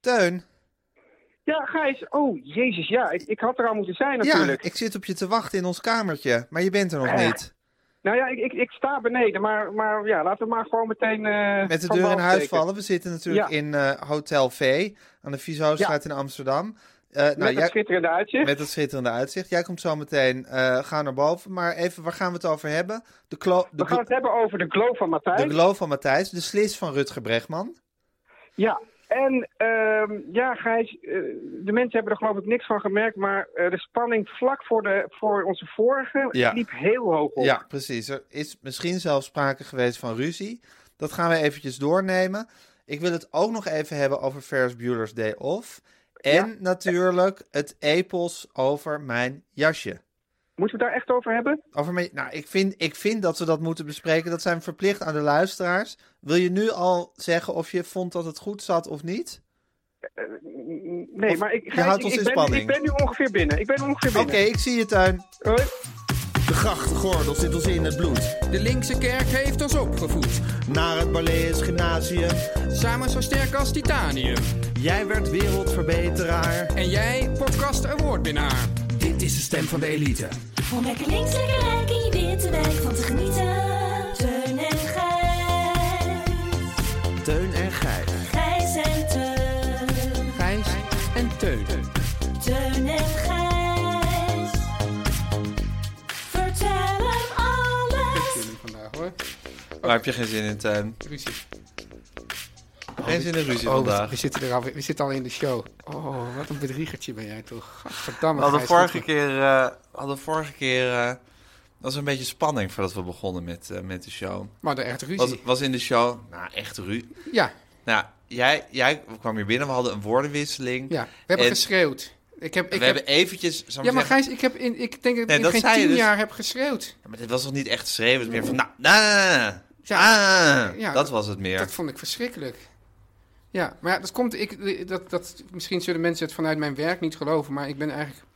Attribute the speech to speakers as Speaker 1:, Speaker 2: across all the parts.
Speaker 1: Teun,
Speaker 2: Ja, Gijs. Oh, jezus, ja. Ik, ik had er al moeten zijn natuurlijk.
Speaker 1: ja, ik zit op je te wachten in ons kamertje, maar je bent er nog
Speaker 2: Eh,
Speaker 1: niet.
Speaker 2: Nou ja, ik, ik, ik sta beneden, maar, maar ja, laten we maar gewoon meteen... eh,
Speaker 1: Met de
Speaker 2: van
Speaker 1: deur in
Speaker 2: wal
Speaker 1: huis
Speaker 2: steken.
Speaker 1: vallen. We zitten natuurlijk
Speaker 2: Ja.
Speaker 1: in eh, Hotel V aan de Vieshoofdstraat in Amsterdam. Eh, nou,
Speaker 2: Met
Speaker 1: jij-
Speaker 2: dat schitterende uitzicht.
Speaker 1: met dat schitterende uitzicht. Jij komt zo meteen, eh, ga naar boven. Maar even, waar gaan we het over hebben? De, klo de,
Speaker 2: We gaan het hebben over de glow van Matthijs.
Speaker 1: de glow van Matthijs, de slis van Rutger Bregman.
Speaker 2: Ja, en ehm, ja, Gijs, eh, de mensen hebben er geloof ik niks van gemerkt, maar eh, de spanning vlak voor, de, voor onze vorige
Speaker 1: Ja.
Speaker 2: liep heel hoog op.
Speaker 1: Ja, precies. Er is misschien zelfs sprake geweest van ruzie. Dat gaan we eventjes doornemen. Ik wil het ook nog even hebben over Ferris Bueller's Day Off. En natuurlijk het epos over mijn jasje.
Speaker 2: Moeten we het daar echt over hebben?
Speaker 1: Over mijn, nou, ik vind, ik vind dat we dat moeten bespreken. Dat zijn we verplicht aan de luisteraars. Wil je nu al zeggen of je vond dat het goed zat of niet?
Speaker 2: Nee,
Speaker 1: Of
Speaker 2: maar ik,
Speaker 1: je
Speaker 2: Gijs,
Speaker 1: houdt
Speaker 2: ik,
Speaker 1: ons
Speaker 2: ik
Speaker 1: in
Speaker 2: ben,
Speaker 1: spanning.
Speaker 2: ik ben nu ongeveer binnen. Ik ben ongeveer
Speaker 1: Oké,
Speaker 2: binnen.
Speaker 1: ik zie je tuin.
Speaker 2: Hoi.
Speaker 3: De grachtgordel zit ons in het bloed.
Speaker 4: De linkse kerk heeft ons opgevoed.
Speaker 3: Naar het Balees Gymnasium.
Speaker 4: Samen zo sterk als titanium.
Speaker 3: Jij werd wereldverbeteraar.
Speaker 4: En jij, podcast awardwinnaar. Dit is de stem van de elite.
Speaker 5: Om lekker links, lekker rijk in je witte wijk van te genieten. Teun en Gijs.
Speaker 3: Teun en Gijs.
Speaker 5: Gijs en Teun.
Speaker 4: Gijs en Teun.
Speaker 5: Teun en Gijs. Vertel hem alles.
Speaker 4: Vandaag hoor.
Speaker 1: Waar heb je geen zin in, tuin?
Speaker 4: Ruzie.
Speaker 1: Geen zin in ruzie
Speaker 4: Oh,
Speaker 1: vandaag.
Speaker 4: we zitten, er al, we zitten al in de show. Oh, wat een bedriegertje ben jij toch. Gadverdamme.
Speaker 1: We hadden
Speaker 4: Gijs.
Speaker 1: vorige keer, eh, we hadden vorige keer eh, dat was een beetje spanning voordat we begonnen met, eh, met de show.
Speaker 4: Maar de echt ruzie.
Speaker 1: Was, was in de show, nou echt ruzie.
Speaker 4: Ja,
Speaker 1: Nou, jij, jij kwam hier binnen, we hadden een woordenwisseling.
Speaker 4: ja. We hebben
Speaker 1: En
Speaker 4: geschreeuwd. Ik heb, ik
Speaker 1: we
Speaker 4: heb,
Speaker 1: hebben eventjes, zal ik
Speaker 4: ja, maar
Speaker 1: zeggen,
Speaker 4: Gijs, ik, heb in, ik denk dat ik
Speaker 1: Nee,
Speaker 4: in
Speaker 1: dat
Speaker 4: geen
Speaker 1: zei je
Speaker 4: tien
Speaker 1: dus.
Speaker 4: jaar heb geschreeuwd.
Speaker 1: maar dit was nog niet echt geschreven. Het was meer van, nou, nou, nou, nou, ah,
Speaker 4: ja,
Speaker 1: dat was het meer.
Speaker 4: Dat vond ik verschrikkelijk. Ja, maar ja, dat komt. Ik, dat, dat, misschien zullen mensen het vanuit mijn werk niet geloven, maar ik ben eigenlijk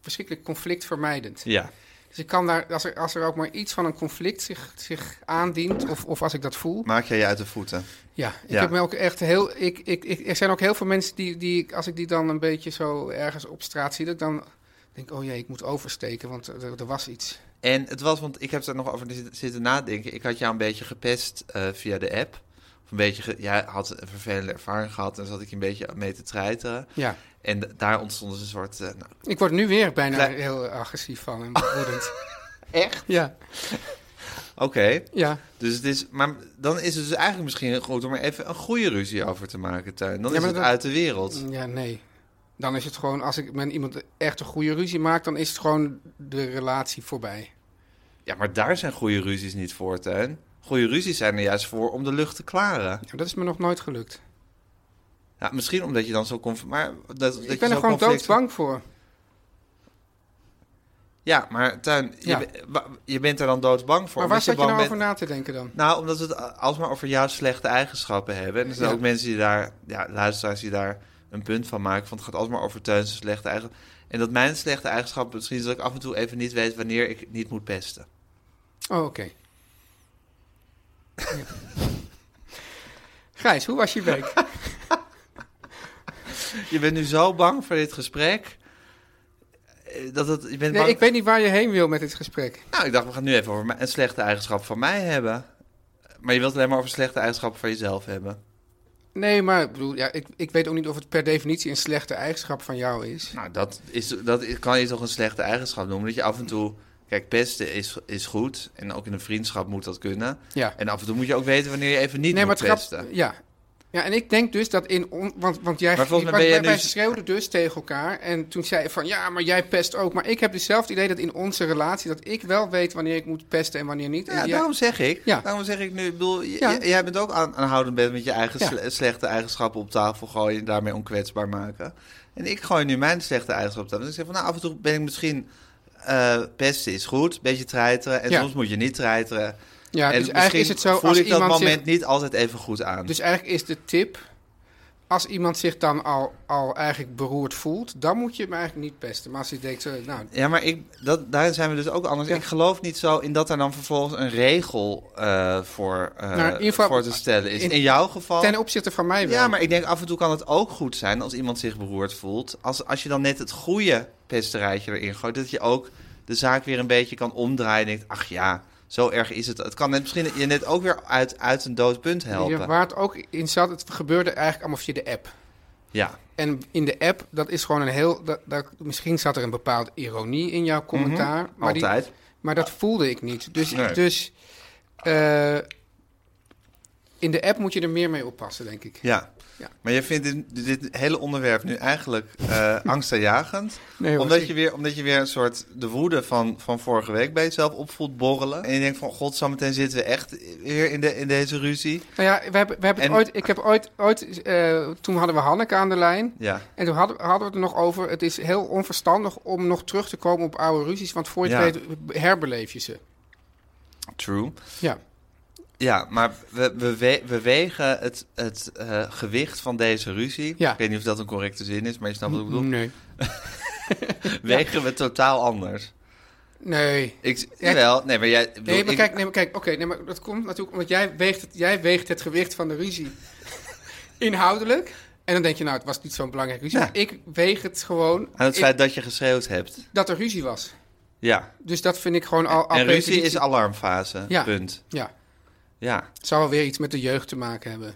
Speaker 4: verschrikkelijk conflictvermijdend.
Speaker 1: Ja,
Speaker 4: Dus ik kan daar, als er, als er ook maar iets van een conflict zich, zich aandient, of, of als ik dat voel.
Speaker 1: maak jij je uit de voeten.
Speaker 4: Ja, ik
Speaker 1: Ja.
Speaker 4: heb me ook echt heel. Ik, ik, ik, er zijn ook heel veel mensen die, die, ik- als ik die dan een beetje zo ergens op straat zie, dat ik dan denk: oh jee, ik moet oversteken, want er, er was iets.
Speaker 1: En het was, want ik heb daar nog over zitten- zitten nadenken. Ik had jou een beetje gepest eh, via de app. Of een beetje, ge- jij had een vervelende ervaring gehad en zat ik je een beetje mee te treiteren.
Speaker 4: Ja.
Speaker 1: En d- daar ontstond dus een soort, eh, nou,
Speaker 4: Ik word nu weer bijna
Speaker 1: Klein-
Speaker 4: heel agressief van en woedend.
Speaker 1: echt?
Speaker 4: ja,
Speaker 1: Oké,
Speaker 4: ja.
Speaker 1: dus het is, maar dan is het dus eigenlijk misschien goed om er even een goede ruzie over te maken, Tuin. Dan
Speaker 4: Ja,
Speaker 1: is
Speaker 4: maar
Speaker 1: het
Speaker 4: dat-
Speaker 1: uit de wereld.
Speaker 4: Ja, nee. Dan is het gewoon, als ik met iemand echt een goede ruzie maak, dan is het gewoon de relatie voorbij.
Speaker 1: Ja, maar daar zijn goede ruzies niet voor, Tuin. Goede ruzies zijn er juist voor om de lucht te klaren.
Speaker 4: Ja, dat is me nog nooit gelukt.
Speaker 1: Ja, misschien omdat je dan zo conf- maar dat, dat je
Speaker 4: ik ben
Speaker 1: zo
Speaker 4: er gewoon
Speaker 1: conflict-
Speaker 4: doodsbang voor.
Speaker 1: Ja, maar Tuin,
Speaker 4: Ja.
Speaker 1: je, be- wa- je bent er dan doodsbang voor.
Speaker 4: Maar waar
Speaker 1: omdat
Speaker 4: zat je
Speaker 1: bang
Speaker 4: nou
Speaker 1: bent-
Speaker 4: over na te denken dan?
Speaker 1: Nou, omdat we het a- alsmaar over jouw slechte eigenschappen hebben. En er zijn
Speaker 4: Ja.
Speaker 1: ook mensen die daar, ja, luisteraars die daar een punt van maken. Want het gaat alsmaar over Teun's slechte eigenschappen. En dat mijn slechte eigenschap misschien is dat ik af en toe even niet weet wanneer ik niet moet pesten.
Speaker 4: Oh, oké. Ja. Gijs, hoe was je week?
Speaker 1: Je bent nu zo bang voor dit gesprek. eh, Dat het, je bent
Speaker 4: Nee,
Speaker 1: bang-
Speaker 4: ik weet niet waar je heen wil met dit gesprek.
Speaker 1: Nou, ik dacht, we gaan het nu even over mijn- een slechte eigenschap van mij hebben. Maar je wilt het alleen maar over slechte eigenschappen van jezelf hebben.
Speaker 4: Nee, maar ik bedoel, ja, ik, ik weet ook niet of het per definitie een slechte eigenschap van jou is.
Speaker 1: Nou, dat, is, dat is- kan je toch een slechte eigenschap noemen. Dat je af en toe... Kijk, pesten is, is goed. En ook in een vriendschap moet dat kunnen.
Speaker 4: Ja.
Speaker 1: En af en toe moet je ook weten wanneer je even niet
Speaker 4: nee,
Speaker 1: moet
Speaker 4: maar het
Speaker 1: pesten.
Speaker 4: grap- Ja. Ja, en ik denk dus dat in... On, want, want jij...
Speaker 1: Maar volgens mij
Speaker 4: wij-
Speaker 1: ben jij
Speaker 4: wij- wij
Speaker 1: dus-
Speaker 4: schreeuwden dus tegen elkaar. En toen zei je van, ja, maar jij pest ook. Maar ik heb dus zelf het idee dat in onze relatie... dat ik wel weet wanneer ik moet pesten en wanneer niet. En
Speaker 1: Ja,
Speaker 4: jij-
Speaker 1: daarom zeg ik.
Speaker 4: Ja.
Speaker 1: Daarom zeg ik nu, ik bedoel, j-
Speaker 4: Ja.
Speaker 1: j- jij bent ook aan, aanhoudend bent met je eigen
Speaker 4: Ja.
Speaker 1: sle- slechte eigenschappen op tafel gooien en daarmee onkwetsbaar maken. En ik gooi nu mijn slechte eigenschappen op tafel. Dus ik zeg van, nou, af en toe ben ik misschien eh, pesten is goed, een beetje treiteren en
Speaker 4: Ja.
Speaker 1: soms moet je niet treiteren.
Speaker 4: Ja,
Speaker 1: en
Speaker 4: dus eigenlijk is
Speaker 1: misschien
Speaker 4: het zo
Speaker 1: voel
Speaker 4: als
Speaker 1: ik dat
Speaker 4: iemand zich-
Speaker 1: moment niet altijd even goed aan.
Speaker 4: Dus eigenlijk is de tip... als iemand zich dan al, al eigenlijk beroerd voelt... dan moet je hem eigenlijk niet pesten. Maar als hij denkt, eh, nou...
Speaker 1: Ja, maar ik, dat, daarin zijn we dus ook anders.
Speaker 4: Ja.
Speaker 1: Ik geloof niet zo in dat er dan vervolgens een regel eh, voor, eh,
Speaker 4: Nou, in ieder geval-
Speaker 1: voor te stellen is. In,
Speaker 4: in-
Speaker 1: jouw geval...
Speaker 4: ten opzichte van mij wel.
Speaker 1: Ja, maar ik denk af en toe kan het ook goed zijn als iemand zich beroerd voelt. Als, als je dan net het goede pesterijtje erin gooit, dat je ook de zaak weer een beetje kan omdraaien. En denkt, ach ja, zo erg is het. Het kan net, misschien je net ook weer uit, uit een dood punt
Speaker 4: Ja,
Speaker 1: helpen.
Speaker 4: Waar het ook in zat, het gebeurde eigenlijk allemaal via de app.
Speaker 1: Ja,
Speaker 4: En in de app, dat is gewoon een heel. Dat, dat, misschien zat er een bepaalde ironie in jouw commentaar. maar, die-
Speaker 1: Mhm, altijd.
Speaker 4: maar dat voelde ik niet. Dus,
Speaker 1: Nee.
Speaker 4: dus eh, in de app moet je er meer mee oppassen, denk ik.
Speaker 1: Ja.
Speaker 4: Ja.
Speaker 1: Maar je vindt dit, dit hele onderwerp nu eigenlijk eh angstaanjagend.
Speaker 4: Nee, hoor,
Speaker 1: omdat,
Speaker 4: ik-
Speaker 1: je weer, omdat je weer een soort de woede van, van vorige week bij jezelf opvoelt borrelen. En je denkt van, god, zometeen zitten we echt weer in, de, in deze ruzie.
Speaker 4: Nou ja, we hebben, we hebben het
Speaker 1: En-
Speaker 4: ooit, ik heb ooit. ooit eh, toen hadden we Hanneke aan de lijn.
Speaker 1: Ja.
Speaker 4: En toen hadden, hadden we het er nog over. Het is heel onverstandig om nog terug te komen op oude ruzies. Want voor je het
Speaker 1: Ja.
Speaker 4: weet herbeleef je ze.
Speaker 1: True.
Speaker 4: Ja.
Speaker 1: Ja, maar we, we, we- we wegen het, het eh, gewicht van deze ruzie.
Speaker 4: Ja. Mm,
Speaker 1: Ik weet niet of dat een correcte zin is, maar je snapt wat ik bedoel.
Speaker 4: Nee.
Speaker 1: Wegen we totaal anders.
Speaker 4: Nee.
Speaker 1: Ik,
Speaker 4: Ja,
Speaker 1: wel, nee, maar jij. ik bedoel,
Speaker 4: Nee, maar
Speaker 1: ik-
Speaker 4: kijk, nee, maar kijk, oké, nee, maar dat komt natuurlijk omdat jij weegt het, jij weegt het gewicht van de ruzie inhoudelijk. En dan denk je, nou, het was niet zo'n belangrijk ruzie.
Speaker 1: Ja.
Speaker 4: Maar Ik weeg het gewoon
Speaker 1: Aan het
Speaker 4: ik-
Speaker 1: feit dat je geschreeuwd hebt.
Speaker 4: dat er ruzie was.
Speaker 1: Ja.
Speaker 4: Dus dat vind ik gewoon al... al
Speaker 1: en ruzie
Speaker 4: prejudicie-
Speaker 1: is alarmfase.
Speaker 4: Ja.
Speaker 1: Punt.
Speaker 4: Ja,
Speaker 1: Ja.
Speaker 4: het zou wel weer iets met de jeugd te maken hebben.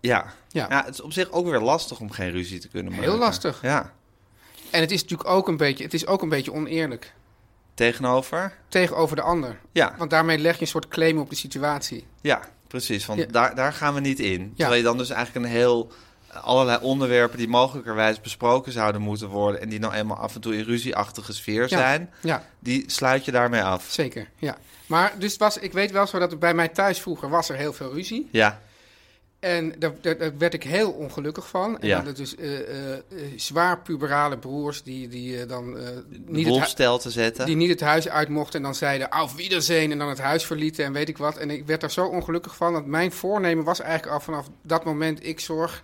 Speaker 1: Ja.
Speaker 4: Ja.
Speaker 1: Het is op zich ook weer lastig om geen ruzie te kunnen
Speaker 4: Heel
Speaker 1: maken.
Speaker 4: lastig.
Speaker 1: Ja.
Speaker 4: En het is natuurlijk ook een beetje, het is ook een beetje oneerlijk
Speaker 1: Tegenover.
Speaker 4: tegenover de ander.
Speaker 1: Ja.
Speaker 4: Want daarmee leg je een soort claim op de situatie.
Speaker 1: Ja, precies. Want
Speaker 4: Ja.
Speaker 1: Daar, daar gaan we niet in. Terwijl je dan dus eigenlijk een heel allerlei onderwerpen die mogelijkerwijs besproken zouden moeten worden en die nou eenmaal af en toe in ruzieachtige sfeer zijn,
Speaker 4: Ja,
Speaker 1: die sluit je daarmee af.
Speaker 4: zeker. Ja. Maar dus was, ik weet wel zo dat er bij mij thuis vroeger was er heel veel ruzie.
Speaker 1: Ja,
Speaker 4: En daar, daar, daar werd ik heel ongelukkig van. En
Speaker 1: Ja.
Speaker 4: dan dat dus eh, eh, eh, zwaar puberale broers die, die eh, dan eh,
Speaker 1: niet
Speaker 4: niet,
Speaker 1: de boel
Speaker 4: het
Speaker 1: op
Speaker 4: hu-
Speaker 1: stijl te zetten.
Speaker 4: die niet het huis uit mochten en dan zeiden auf wiedersehen en dan het huis verlieten en weet ik wat. En ik werd daar zo ongelukkig van dat mijn voornemen was eigenlijk al vanaf dat moment ik zorg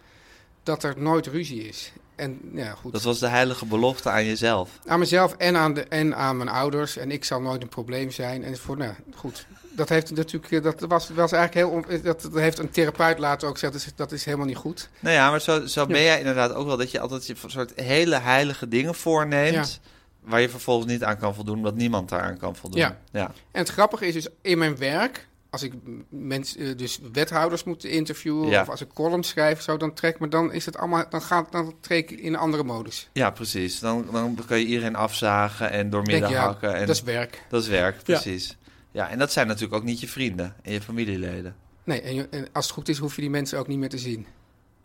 Speaker 4: dat er nooit ruzie is. En nou ja, goed.
Speaker 1: Dat was de heilige belofte aan jezelf.
Speaker 4: Aan mezelf en aan, de, en aan mijn ouders. En ik zal nooit een probleem zijn. En voor, nou goed. Dat heeft natuurlijk, eh, dat was, was eigenlijk heel, on- eh, dat, dat heeft een therapeut later ook gezegd, dat is, dat is helemaal niet goed.
Speaker 1: Nou ja, maar zo, zo ben jij inderdaad ook wel dat je altijd je soort hele heilige dingen voorneemt. Waar je vervolgens niet aan kan voldoen, omdat niemand daaraan kan voldoen.
Speaker 4: Ja.
Speaker 1: ja.
Speaker 4: En het grappige is dus in mijn werk, als ik m- mensen, eh, dus wethouders moet interviewen
Speaker 1: Ja.
Speaker 4: of als ik columns schrijf, zo dan trek, maar dan is het allemaal, dan gaat, dan trek ik in een andere modus.
Speaker 1: Ja, precies. Dan, dan kan je iedereen afzagen en
Speaker 4: Dan
Speaker 1: doormidden
Speaker 4: Denk je, ja,
Speaker 1: hakken. En
Speaker 4: dat is werk.
Speaker 1: Dat is werk, precies. Ja. en dat zijn natuurlijk ook niet je vrienden en je familieleden.
Speaker 4: Nee, en, je- en als het goed is, hoef je die mensen ook niet meer te zien.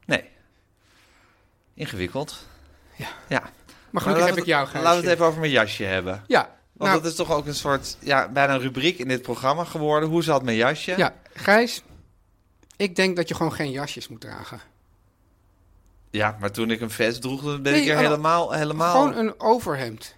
Speaker 1: Nee. Ingewikkeld.
Speaker 4: Ja.
Speaker 1: ja. Nou,
Speaker 4: Maar
Speaker 1: laten
Speaker 4: gelukkig heb
Speaker 1: we-
Speaker 4: ik jou,
Speaker 1: Laten we
Speaker 4: Gijsje.
Speaker 1: het even over mijn jasje hebben.
Speaker 4: Ja,
Speaker 1: Want
Speaker 4: nou,
Speaker 1: dat is toch ook een soort, ja, bijna een rubriek in dit programma geworden. Hoe zat mijn jasje?
Speaker 4: ja, Gijs, ik denk dat je gewoon geen jasjes moet dragen.
Speaker 1: Ja, maar toen ik een vest droeg, dan ben
Speaker 4: Nee,
Speaker 1: ik er
Speaker 4: hallo.
Speaker 1: helemaal, helemaal...
Speaker 4: Gewoon eh, een overhemd.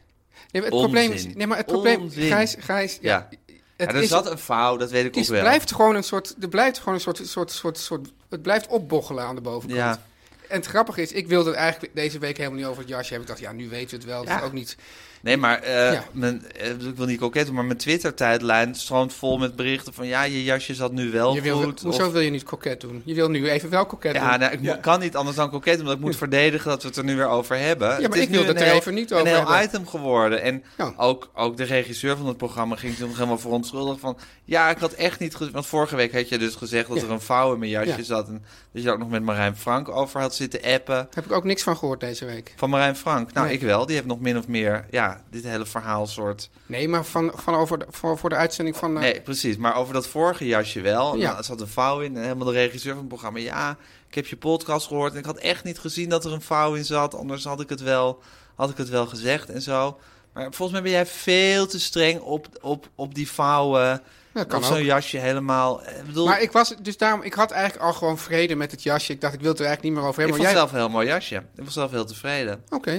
Speaker 4: Nee, maar het probleem is,
Speaker 1: Onzin.
Speaker 4: nee, maar het probleem,
Speaker 1: Onzin.
Speaker 4: Gijs, Gijs,
Speaker 1: Ja.
Speaker 4: ja,
Speaker 1: Ja,
Speaker 4: het
Speaker 1: er
Speaker 4: is,
Speaker 1: zat een vouw, dat weet ik
Speaker 4: het is,
Speaker 1: ook wel.
Speaker 4: blijft gewoon een soort, er blijft gewoon een soort, soort, soort, soort, het blijft opboggelen aan de bovenkant.
Speaker 1: Ja.
Speaker 4: en het grappige is, ik wilde het eigenlijk deze week helemaal niet over het jasje hebben. Ik dacht, ja, nu weten we het wel. Dat is ook niet...
Speaker 1: Nee, maar eh,
Speaker 4: Ja.
Speaker 1: mijn, eh, ik wil niet koketten, maar mijn Twitter-tijdlijn stroomt vol met berichten van... ja, je jasje zat nu wel
Speaker 4: je wil,
Speaker 1: goed.
Speaker 4: hoezo
Speaker 1: of-
Speaker 4: wil je niet koket doen? Je wil nu even wel koket
Speaker 1: ja,
Speaker 4: doen.
Speaker 1: nou, ik mo- kan niet anders dan koketten, omdat ik moet verdedigen dat we het er nu weer over hebben.
Speaker 4: maar
Speaker 1: het is
Speaker 4: ik
Speaker 1: nu
Speaker 4: wil
Speaker 1: een
Speaker 4: het er
Speaker 1: heel-
Speaker 4: even niet over
Speaker 1: Een heel
Speaker 4: hebben.
Speaker 1: item geworden. En
Speaker 4: Ja.
Speaker 1: ook, ook de regisseur van het programma ging toen nog helemaal verontschuldigd van... ja, ik had echt niet... ge- Want vorige week had je dus gezegd dat
Speaker 4: Ja.
Speaker 1: er een vouw in mijn jasje
Speaker 4: Ja.
Speaker 1: zat... en dat je daar ook nog met Marijn Frank over had zitten appen...
Speaker 4: Daar heb ik ook niks van gehoord deze week.
Speaker 1: Van Marijn Frank. Nou,
Speaker 4: Nee.
Speaker 1: ik wel. Die heeft nog min of meer ja, dit hele verhaal soort.
Speaker 4: Nee, maar van, van over de, voor, voor de uitzending van... eh,
Speaker 1: Nee, precies. Maar over dat vorige jasje wel.
Speaker 4: Ja.
Speaker 1: Ja. Er zat een vouw in. En helemaal de regisseur van het programma. Ja, ik heb je podcast gehoord. En ik had echt niet gezien dat er een vouw in zat. Anders had ik het wel, had ik het wel gezegd en zo. Maar volgens mij ben jij veel te streng op, op, op die vouwen.
Speaker 4: dat kan
Speaker 1: Op
Speaker 4: ook.
Speaker 1: zo'n jasje helemaal. Eh, Ik bedoel,
Speaker 4: Maar ik was dus daarom, ik had eigenlijk al gewoon vrede met het jasje. Ik dacht, ik wil het er eigenlijk niet meer over
Speaker 1: ik
Speaker 4: hebben.
Speaker 1: vond
Speaker 4: Maar jij-
Speaker 1: zelf een heel mooi jasje. Ik was zelf heel tevreden.
Speaker 4: Oké,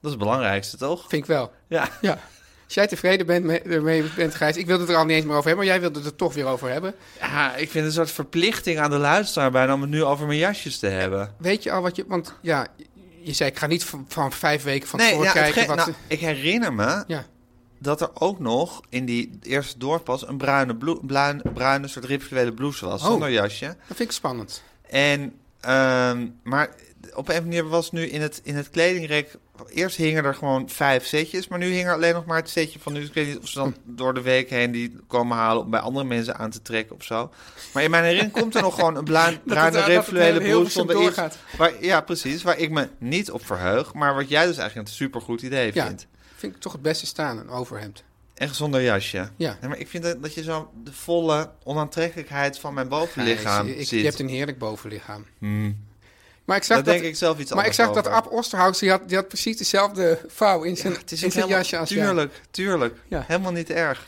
Speaker 1: Dat is het belangrijkste, toch?
Speaker 4: vind ik wel.
Speaker 1: Ja.
Speaker 4: Ja. Als jij tevreden bent mee, ermee bent, Gijs, ik wilde het er al niet eens meer over hebben, maar jij wilde het er toch weer over hebben.
Speaker 1: Ja, ik vind het een soort verplichting aan de luisteraar bijna om het nu over mijn jasjes te hebben.
Speaker 4: Weet je al wat je, want ja, je zei, ik ga niet van, van vijf weken van
Speaker 1: Nee,
Speaker 4: tevoren
Speaker 1: ja, het
Speaker 4: kijken.
Speaker 1: ge-
Speaker 4: Wat,
Speaker 1: nou, ik herinner me
Speaker 4: ja.
Speaker 1: dat er ook nog in die eerste doorpas een bruine, bloe- bruin- bruine soort rituele blouse was,
Speaker 4: Oh.
Speaker 1: zonder jasje.
Speaker 4: Dat vind ik spannend.
Speaker 1: En, ehm, maar op een manier was nu in het, in het kledingrek, eerst hingen er gewoon vijf setjes, maar nu hing er alleen nog maar het setje van nu. Ik weet niet of ze dan
Speaker 4: Hm.
Speaker 1: door de week heen die komen halen om bij andere mensen aan te trekken of zo. Maar in mijn herinnering komt er nog gewoon een bluin- bruine
Speaker 4: dat het heel
Speaker 1: rituele blouse
Speaker 4: Hilversum
Speaker 1: zonder iets.
Speaker 4: doorgaat.
Speaker 1: Waar, ja, precies. Waar ik me niet op verheug, maar wat jij dus eigenlijk een supergoed idee
Speaker 4: Ja.
Speaker 1: vindt.
Speaker 4: Vind ik toch het beste staan, een overhemd.
Speaker 1: En zonder jasje.
Speaker 4: Ja.
Speaker 1: Nee, maar ik vind dat, dat je zo de volle onaantrekkelijkheid van mijn bovenlichaam
Speaker 4: Gijs, ik-
Speaker 1: ziet.
Speaker 4: Je hebt een heerlijk bovenlichaam. Maar ik zag
Speaker 1: Daar
Speaker 4: dat,
Speaker 1: denk ik zelf iets
Speaker 4: maar ik
Speaker 1: anders
Speaker 4: zag dat
Speaker 1: over.
Speaker 4: Ab Osterhaus, die had, die had precies dezelfde vouw in zijn,
Speaker 1: Ja, het is
Speaker 4: in
Speaker 1: ook
Speaker 4: zijn
Speaker 1: helemaal,
Speaker 4: jasje als jij.
Speaker 1: Tuurlijk, tuurlijk.
Speaker 4: Ja.
Speaker 1: Helemaal niet erg.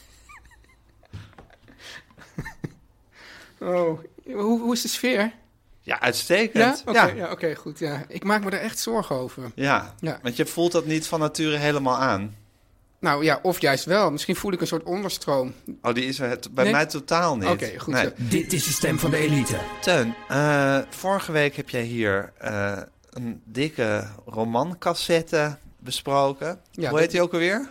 Speaker 4: Oh, hoe, hoe is de sfeer?
Speaker 1: Ja,
Speaker 4: Ja?
Speaker 1: uitstekend.
Speaker 4: Oké, ja. oké, goed. Ja. Ik maak me daar echt zorgen over.
Speaker 1: Ja.
Speaker 4: Ja.
Speaker 1: want je voelt dat niet van nature helemaal aan.
Speaker 4: Nou ja, of juist wel. Misschien voel ik een soort onderstroom.
Speaker 1: Oh, die is er het- bij
Speaker 4: Nee?
Speaker 1: mij totaal niet.
Speaker 4: Oké, goed
Speaker 1: Nee.
Speaker 4: zo.
Speaker 3: Dit is de stem van de elite.
Speaker 1: Teun, eh, vorige week heb jij hier eh, een dikke romancassette besproken.
Speaker 4: Ja,
Speaker 1: Hoe
Speaker 4: dat-
Speaker 1: heet die ook alweer?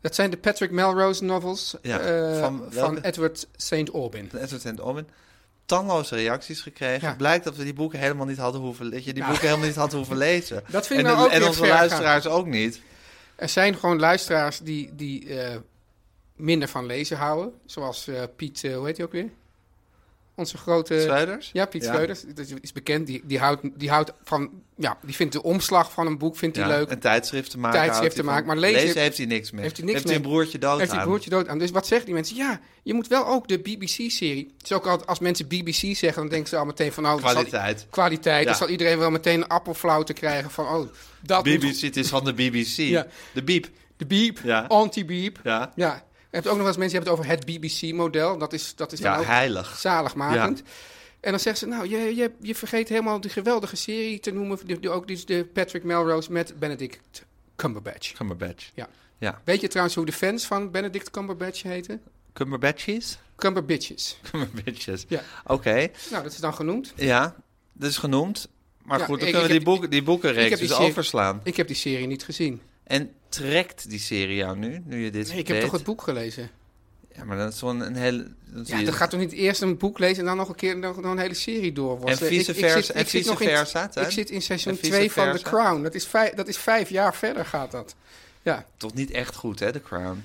Speaker 4: Dat zijn de Patrick Melrose novels
Speaker 1: Ja,
Speaker 4: eh,
Speaker 1: van
Speaker 4: van,
Speaker 1: welke?
Speaker 4: Edward St. Aubin.
Speaker 1: Van Edward en Owen. Talloze reacties gekregen.
Speaker 4: Ja.
Speaker 1: Blijkt dat we die boeken helemaal niet hadden hoeven, dat je die boeken helemaal niet had hoeven lezen.
Speaker 4: Dat vind ik
Speaker 1: en
Speaker 4: nou ook
Speaker 1: en
Speaker 4: weer
Speaker 1: onze
Speaker 4: ver gaan.
Speaker 1: luisteraars ook niet.
Speaker 4: Er zijn gewoon luisteraars die, die eh, minder van lezen houden. Zoals eh, Piet, eh, hoe heet hij ook weer? Onze grote...
Speaker 1: Schreuders?
Speaker 4: Ja, Piet
Speaker 1: Ja.
Speaker 4: Schreuders. Dat is bekend. Die, die, houdt, die houdt van... Ja, die vindt de omslag van een boek vindt die
Speaker 1: Ja,
Speaker 4: leuk.
Speaker 1: Een tijdschrift te maken.
Speaker 4: Tijdschrift
Speaker 1: houdt hij
Speaker 4: te maken, maar
Speaker 1: van.
Speaker 4: lezen-
Speaker 1: heeft hij niks mee.
Speaker 4: heeft hij niks
Speaker 1: heeft hij een
Speaker 4: mee.
Speaker 1: broertje dood
Speaker 4: heeft die
Speaker 1: aan.
Speaker 4: broertje dood aan. Dus wat zeggen die mensen? Ja, je moet wel ook de BBC-serie. Het is ook altijd, als mensen BBC zeggen, dan denken ze al meteen van... Oh, dat zal-
Speaker 1: Kwaliteit.
Speaker 4: kwaliteit.
Speaker 1: Ja.
Speaker 4: Dan zal iedereen wel meteen een appelflauw te krijgen van... Oh, dat
Speaker 1: BBC,
Speaker 4: moet...
Speaker 1: het is van de BBC.
Speaker 4: Ja.
Speaker 1: De biep.
Speaker 4: De beep,
Speaker 1: Ja.
Speaker 4: anti-beep. Ja.
Speaker 1: Ja,
Speaker 4: Je hebt ook nog wel eens mensen die hebben het over het BBC-model. Dat is, dat is dan
Speaker 1: ja
Speaker 4: ook
Speaker 1: heilig.
Speaker 4: zaligmakend. En dan zeggen ze, nou, je, je, je vergeet helemaal die geweldige serie te noemen. de- de- ook die, de Patrick Melrose met Benedict Cumberbatch.
Speaker 1: Cumberbatch.
Speaker 4: Ja.
Speaker 1: Ja.
Speaker 4: Weet je trouwens hoe de fans van Benedict Cumberbatch heten?
Speaker 1: Cumberbatches?
Speaker 4: Cumberbitches.
Speaker 1: Cumberbatches.
Speaker 4: Ja.
Speaker 1: Oké.
Speaker 4: Nou, dat is dan genoemd.
Speaker 1: Ja, dat is genoemd. Maar
Speaker 4: Ja,
Speaker 1: goed, dan
Speaker 4: ik-
Speaker 1: kunnen
Speaker 4: ik
Speaker 1: we die,
Speaker 4: heb-
Speaker 1: boeken, die boekenreeks
Speaker 4: ik heb die
Speaker 1: dus
Speaker 4: serie-
Speaker 1: overslaan.
Speaker 4: Ik heb die serie niet gezien.
Speaker 1: En trekt die serie jou nu, nu je dit
Speaker 4: Nee, ik heb
Speaker 1: weet?
Speaker 4: toch het boek gelezen?
Speaker 1: Ja, maar dat is zo'n een hele... dan zie
Speaker 4: Ja,
Speaker 1: je-
Speaker 4: dan gaat toch niet eerst een boek lezen en dan nog een keer nog, nog een hele serie
Speaker 1: En
Speaker 4: doorworstelen?
Speaker 1: vice
Speaker 4: Ik- ik zit-
Speaker 1: versa.
Speaker 4: ik
Speaker 1: En
Speaker 4: zit
Speaker 1: vice
Speaker 4: nog in-
Speaker 1: versa, Teun.
Speaker 4: Ik zit in seizoen
Speaker 1: En vice
Speaker 4: 2 van The
Speaker 1: versa.
Speaker 4: Crown. Dat is, vijf, dat is vijf jaar verder gaat dat. Ja,
Speaker 1: Toch niet echt goed, hè, The Crown?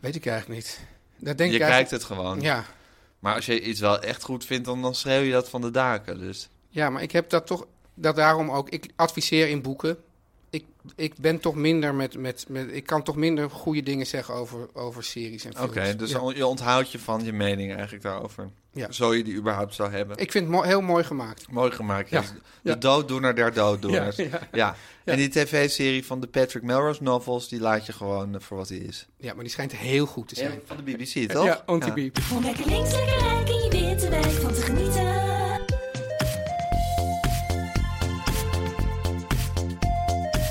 Speaker 4: weet ik eigenlijk niet. Daar denk
Speaker 1: je
Speaker 4: ik
Speaker 1: kijkt
Speaker 4: eigenlijk...
Speaker 1: het gewoon.
Speaker 4: Ja.
Speaker 1: Maar als je iets wel echt goed vindt, dan, dan schreeuw je dat van de daken. Dus
Speaker 4: ja, maar ik heb dat toch... Dat daarom ook... Ik adviseer in boeken. Ik, ik ben toch minder met, met, met... Ik kan toch minder goede dingen zeggen over, over series en
Speaker 1: oké,
Speaker 4: films.
Speaker 1: dus
Speaker 4: Ja.
Speaker 1: on- je onthoudt je van je mening eigenlijk daarover.
Speaker 4: Ja.
Speaker 1: Zo je die überhaupt zou hebben.
Speaker 4: Ik vind het mo- heel mooi gemaakt.
Speaker 1: Mooi gemaakt.
Speaker 4: Ja.
Speaker 1: Ja. De
Speaker 4: Ja.
Speaker 1: dooddoener der dooddoeners.
Speaker 4: Ja,
Speaker 1: Ja,
Speaker 4: ja.
Speaker 1: En die tv-serie van de Patrick Melrose novels, die laat je gewoon eh, voor wat hij is.
Speaker 4: Ja, maar die schijnt heel goed te zijn.
Speaker 1: En van de BBC, toch?
Speaker 4: Ja, anti-beep.
Speaker 5: Om lekker links, lekker rijk in je witte wijk van te genieten.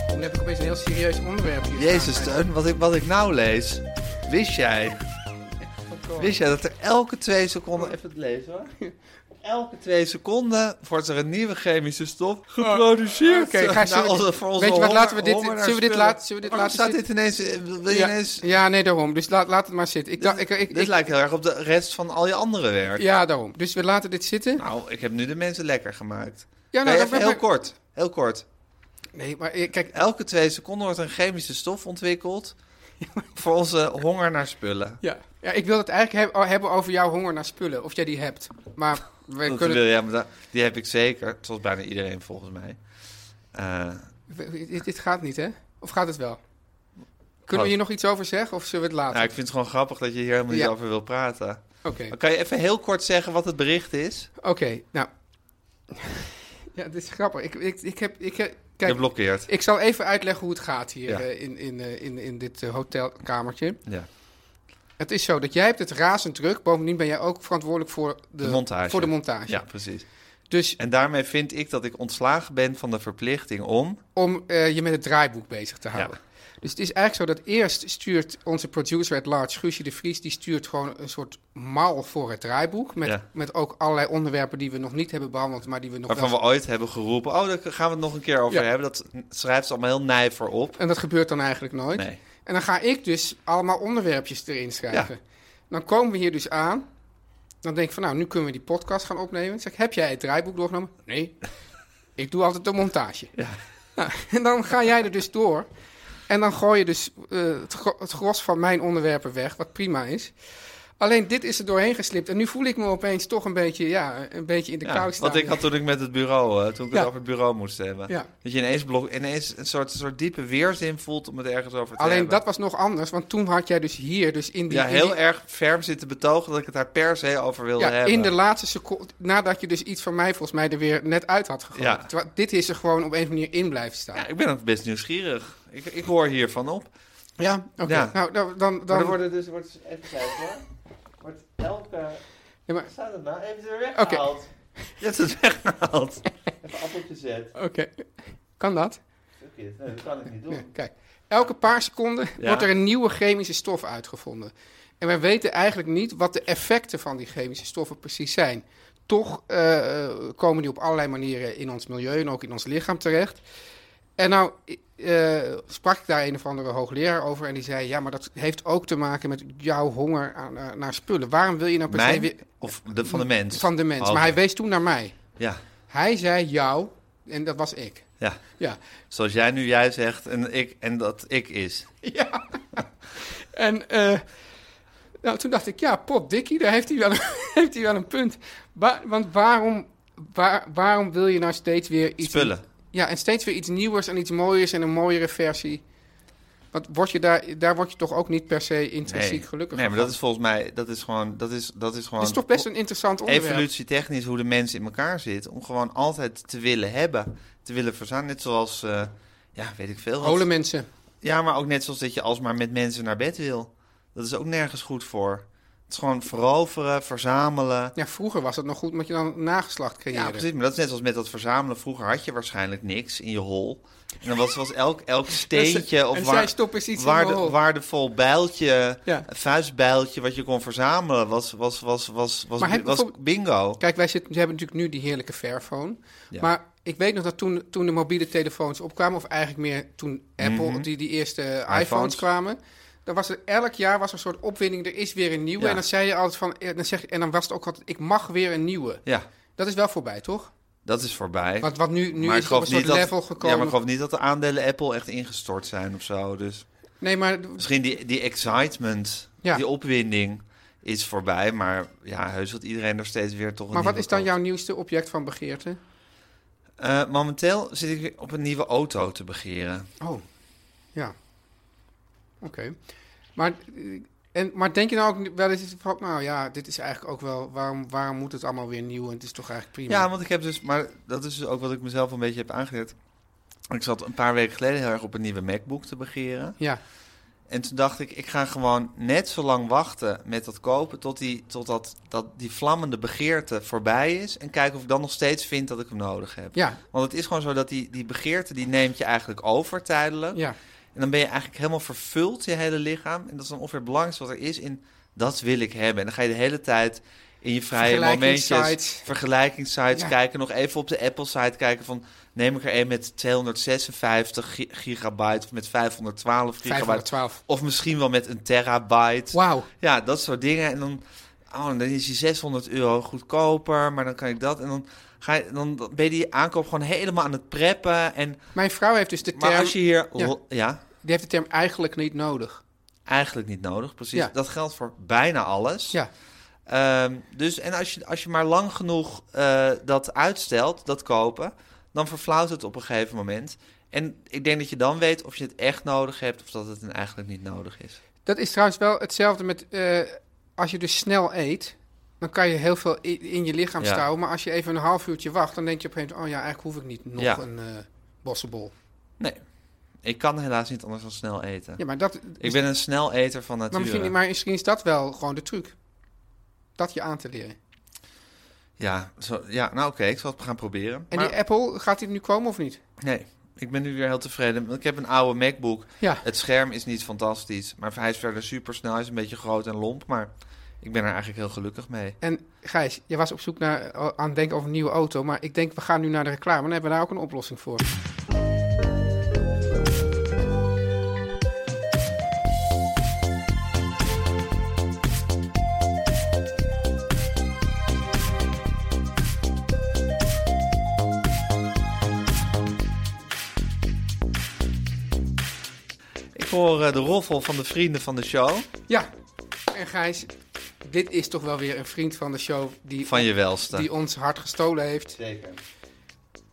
Speaker 4: Dan heb ik opeens een heel serieus onderwerp hier.
Speaker 1: Jezus,
Speaker 4: staan.
Speaker 1: Teun, wat ik, wat ik nou lees. Wist jij, wist jij dat er elke twee seconden... Even het lezen, hoor. Elke twee seconden wordt er een nieuwe chemische stof geproduceerd.
Speaker 4: Oh. Oké, ga- zullen we
Speaker 1: Nou,
Speaker 4: dit-
Speaker 1: voor onze
Speaker 4: weet je wat,
Speaker 1: honger-
Speaker 4: laten we dit-
Speaker 1: honger naar
Speaker 4: zullen we dit
Speaker 1: spullen.
Speaker 4: laten- zullen we dit
Speaker 1: Waarom
Speaker 4: laten
Speaker 1: staat dit ineens... eh, Wil je
Speaker 4: Ja,
Speaker 1: ineens...
Speaker 4: ja, nee, daarom. Dus laat, laat het maar zitten. Ik, dacht, ik, ik,
Speaker 1: dit
Speaker 4: ik-
Speaker 1: lijkt heel erg op de rest van al je andere werk.
Speaker 4: ja, daarom. Dus we laten dit zitten.
Speaker 1: Nou, ik heb nu de mensen lekker gemaakt.
Speaker 4: Ja,
Speaker 1: Nee,
Speaker 4: nou,
Speaker 1: even
Speaker 4: ben-
Speaker 1: heel kort. Heel kort.
Speaker 4: Nee, maar eh, kijk,
Speaker 1: Elke twee seconden wordt een chemische stof ontwikkeld... voor onze honger naar spullen.
Speaker 4: ja. Ja, ik wil het eigenlijk heb- hebben over jouw honger naar spullen. Of jij die hebt. Maar we
Speaker 1: Dat
Speaker 4: kunnen...
Speaker 1: wil- ja, maar dat- die heb ik zeker. Zoals bijna iedereen volgens mij. Eh,
Speaker 4: we- dit, dit gaat niet, hè? Of gaat het wel? Kunnen
Speaker 1: Gaat.
Speaker 4: we hier nog iets over zeggen? Of zullen we het laten?
Speaker 1: nou, ik vind het gewoon grappig dat je hier helemaal niet
Speaker 4: Ja.
Speaker 1: over wil praten.
Speaker 4: Oké.
Speaker 1: Maar Kan je even heel kort zeggen wat het bericht is?
Speaker 4: Oké, nou. ja, dit is grappig. Ik, ik, ik heb. Ik heb
Speaker 1: Je
Speaker 4: kijk,
Speaker 1: blokkeert.
Speaker 4: ik zal even uitleggen hoe het gaat hier
Speaker 1: Ja.
Speaker 4: eh, in, in, eh, in, in dit eh, hotelkamertje.
Speaker 1: Ja.
Speaker 4: Het is zo dat jij hebt het razend druk. Bovendien ben jij ook verantwoordelijk voor de,
Speaker 1: De montage.
Speaker 4: Voor de montage.
Speaker 1: ja, precies.
Speaker 4: Dus
Speaker 1: En daarmee vind ik dat ik ontslagen ben van de verplichting om...
Speaker 4: om eh, je met het draaiboek bezig te houden. Dus het is eigenlijk zo dat eerst stuurt onze producer at large, Guusje de Vries, die stuurt gewoon een soort mal voor het draaiboek. Met,
Speaker 1: Ja.
Speaker 4: met ook allerlei onderwerpen die we nog niet hebben behandeld, maar die we nog
Speaker 1: Waarvan
Speaker 4: wel...
Speaker 1: we ooit hebben geroepen, oh, daar gaan we het nog een keer over
Speaker 4: Ja.
Speaker 1: hebben. Dat schrijft ze allemaal heel nijver op.
Speaker 4: En dat gebeurt dan eigenlijk nooit.
Speaker 1: Nee.
Speaker 4: En dan ga ik dus allemaal onderwerpjes erin schrijven. Dan komen we hier dus aan. Dan denk ik van, nou, nu kunnen we die podcast gaan opnemen. Dan zeg ik, heb jij het draaiboek doorgenomen? Nee, ik doe altijd de montage. Nou, en dan ga jij er dus door. En dan gooi je dus eh, het, gro- het gros van mijn onderwerpen weg, wat prima is. Alleen dit is er doorheen geslipt. En nu voel ik me opeens toch een beetje, ja, een beetje in de
Speaker 1: Ja,
Speaker 4: kou staan.
Speaker 1: wat ik had toen ik met het bureau, eh, toen ik
Speaker 4: Ja.
Speaker 1: het over het bureau moest hebben.
Speaker 4: Ja.
Speaker 1: Dat je ineens, blok, ineens een soort, soort diepe weerzin voelt om het ergens over te
Speaker 4: Alleen
Speaker 1: hebben.
Speaker 4: dat was nog anders, want toen had jij dus hier, dus in die...
Speaker 1: Ja,
Speaker 4: in die-
Speaker 1: heel erg ferm zitten betogen dat ik het daar per se over wilde
Speaker 4: Ja,
Speaker 1: hebben.
Speaker 4: in de laatste seconde, nadat je dus iets van mij volgens mij er weer net uit had gegooid.
Speaker 1: Ja.
Speaker 4: Terwijl dit is er gewoon op een of andere manier in blijven staan.
Speaker 1: ja,
Speaker 4: Ja,
Speaker 1: ik ben ook best nieuwsgierig. Ik, ik hoor hiervan op.
Speaker 4: oké.
Speaker 1: Ja.
Speaker 4: Nou, dan... dan,
Speaker 1: Maar
Speaker 4: dan
Speaker 1: er worden dus, wordt dus even kijken hoor. Wordt elke.
Speaker 4: Ja, maar-
Speaker 1: staat het nou? Even weer weggehaald. Je hebt het weggehaald. even appeltje zet.
Speaker 4: Oké. Kan dat?
Speaker 1: Fuck it. Nee, dat kan ik niet doen.
Speaker 4: Nee, kijk. Elke paar seconden wordt er een nieuwe chemische stof uitgevonden. En wij weten eigenlijk niet wat de effecten van die chemische stoffen precies zijn. Toch eh, eh, komen die op allerlei manieren in ons milieu en ook in ons lichaam terecht. En nou eh, sprak ik daar een of andere hoogleraar over en die zei... ja, maar dat heeft ook te maken met jouw honger aan, eh, naar spullen. Waarom wil je nou per se
Speaker 1: Mijn?
Speaker 4: weer...
Speaker 1: Of de, van de mens?
Speaker 4: Van de mens.
Speaker 1: Oh,
Speaker 4: Maar hij wees toen naar mij.
Speaker 1: Ja,
Speaker 4: Hij zei jou en dat was ik.
Speaker 1: ja.
Speaker 4: Ja,
Speaker 1: Zoals jij nu jij zegt en, ik, en dat ik is.
Speaker 4: Ja. En eh, nou, toen dacht ik, ja, pot Dikkie, daar heeft hij wel, heeft hij wel een punt. Wa- want waarom, waar, waarom wil je nou steeds weer iets...
Speaker 1: Spullen.
Speaker 4: Ja, en steeds weer iets nieuws en iets mooiers en een mooiere versie. Want word je daar, daar word je toch ook niet per se intrinsiek gelukkig
Speaker 1: nee, maar
Speaker 4: van.
Speaker 1: dat is volgens mij, dat is gewoon, dat is, dat is gewoon
Speaker 4: Dat is toch best een interessant onderwerp.
Speaker 1: evolutietechnisch hoe de mens in elkaar zit. Om gewoon altijd te willen hebben, te willen verzamelen. Net zoals, eh, ja, weet ik veel. wat.
Speaker 4: Holen mensen.
Speaker 1: Ja, maar ook net zoals dat je alsmaar met mensen naar bed wil. Dat is ook nergens goed voor. Het is gewoon veroveren, verzamelen.
Speaker 4: Ja, vroeger was het nog goed, omdat je dan een nageslacht creëerde.
Speaker 1: Ja, precies. Maar dat is net zoals met dat verzamelen. Vroeger had je waarschijnlijk niks in je hol. En dan was, was elk, elk
Speaker 4: Dus,
Speaker 1: steentje
Speaker 4: en
Speaker 1: of
Speaker 4: zij
Speaker 1: waar,
Speaker 4: stoppen eens iets in
Speaker 1: waarde-
Speaker 4: mijn hol.
Speaker 1: waardevol bijltje,
Speaker 4: Ja.
Speaker 1: vuistbijltje wat je kon verzamelen, was, was, was, was, was,
Speaker 4: Maar heb je
Speaker 1: was
Speaker 4: bijvoorbeeld-
Speaker 1: bingo.
Speaker 4: Kijk, wij zitten, we hebben natuurlijk nu die heerlijke Fairphone.
Speaker 1: Ja.
Speaker 4: Maar ik weet nog dat toen, toen de mobiele telefoons opkwamen... of eigenlijk meer toen Apple, die, die eerste iPhones,
Speaker 1: Mhm. iPhones.
Speaker 4: kwamen... dan was er elk jaar was er een soort opwinding, er is weer een nieuwe.
Speaker 1: Ja.
Speaker 4: En dan zei je altijd van... eh, Dan zeg, je- en dan was het ook altijd, ik mag weer een nieuwe.
Speaker 1: Ja,
Speaker 4: Dat is wel voorbij, toch?
Speaker 1: dat is voorbij.
Speaker 4: Want wat nu, nu
Speaker 1: Eh, maar
Speaker 4: is het op een soort
Speaker 1: dat,
Speaker 4: level
Speaker 1: Ja,
Speaker 4: gekomen.
Speaker 1: maar ik geloof niet dat de aandelen Apple echt ingestort zijn of zo. Dus
Speaker 4: Nee, maar
Speaker 1: misschien die, die excitement,
Speaker 4: Ja.
Speaker 1: die opwinding is voorbij. Maar ja, heus dat iedereen er steeds weer toch een
Speaker 4: Maar wat
Speaker 1: nieuwe
Speaker 4: is dan
Speaker 1: koopt.
Speaker 4: jouw nieuwste object van begeerte?
Speaker 1: Eh, momenteel zit ik weer op een nieuwe auto te begeren.
Speaker 4: Oh, ja. Oké. Maar, eh, en, maar denk je nou ook wel eens van, nou ja, dit is eigenlijk ook wel, waarom, waarom moet het allemaal weer nieuw en het is toch eigenlijk prima?
Speaker 1: Ja, want ik heb dus, maar dat is dus ook wat ik mezelf een beetje heb aangeleerd. Ik zat een paar weken geleden heel erg op een nieuwe MacBook te begeren.
Speaker 4: Ja,
Speaker 1: En toen dacht ik, ik ga gewoon net zo lang wachten met dat kopen... tot, die, tot dat, dat die vlammende begeerte voorbij is... en kijken of ik dan nog steeds vind dat ik hem nodig heb.
Speaker 4: ja,
Speaker 1: Want het is gewoon zo dat die, die begeerte, die neemt je eigenlijk over tijdelijk.
Speaker 4: ja.
Speaker 1: En dan ben je eigenlijk helemaal vervuld, je hele lichaam. En dat is dan ongeveer het belangrijkste wat er is in dat wil ik hebben. En dan ga je de hele tijd in je vrije momentjes
Speaker 4: Vergelijkingssites.
Speaker 1: vergelijkingssites
Speaker 4: Ja.
Speaker 1: kijken. Nog even op de Apple-site kijken van... neem ik er een met 256 gi- gigabyte of met 512 gigabyte.
Speaker 4: 512.
Speaker 1: Of misschien wel met een terabyte.
Speaker 4: Wauw.
Speaker 1: Ja, dat soort dingen. En dan, oh, dan is die 600 euro goedkoper, maar dan kan ik dat. En dan, ga je, dan ben je die aankoop gewoon helemaal aan het preppen. En,
Speaker 4: Mijn vrouw heeft dus de term,
Speaker 1: maar als je hier... Ja.
Speaker 4: Ja. die heeft de term eigenlijk niet nodig.
Speaker 1: eigenlijk niet nodig, precies.
Speaker 4: Ja.
Speaker 1: Dat geldt voor bijna alles.
Speaker 4: Ja,
Speaker 1: Ehm, dus, en als je, als je maar lang genoeg eh, dat uitstelt, dat kopen... dan verflauwt het op een gegeven moment. En ik denk dat je dan weet of je het echt nodig hebt... of dat het dan eigenlijk niet nodig is.
Speaker 4: dat is trouwens wel hetzelfde met eh, als je dus snel eet, dan kan je heel veel i- in je lichaam
Speaker 1: Ja.
Speaker 4: stouwen. Maar als je even een half uurtje wacht, dan denk je op een gegeven moment, oh ja, eigenlijk hoef ik niet nog
Speaker 1: Ja.
Speaker 4: een eh bossenbol.
Speaker 1: Nee, ik kan helaas niet anders dan snel eten.
Speaker 4: Ja, maar dat,
Speaker 1: Ik ben een sneleter van
Speaker 4: maar, misschien,
Speaker 1: nature.
Speaker 4: maar misschien is dat wel gewoon de truc. Dat je aan te leren.
Speaker 1: Ja, zo, ja, nou oké, ik zal het gaan proberen.
Speaker 4: En
Speaker 1: maar,
Speaker 4: die Apple, gaat die nu komen of niet?
Speaker 1: Nee, ik ben nu weer heel tevreden. want Ik heb een oude MacBook.
Speaker 4: Ja.
Speaker 1: Het scherm is niet fantastisch, maar hij is verder super snel. Hij is een beetje groot en lomp, maar ik ben er eigenlijk heel gelukkig mee.
Speaker 4: En Gijs, je was op zoek naar, eh, aan het denken over een nieuwe auto. Maar ik denk, we gaan nu naar de reclame. Dan hebben we daar ook een oplossing voor.
Speaker 1: Ik hoor eh, de roffel van de vrienden van de show.
Speaker 4: Ja, en Gijs, dit is toch wel weer een vriend van de show die,
Speaker 1: Van je welste.
Speaker 4: die ons hart gestolen heeft.
Speaker 1: Zeker.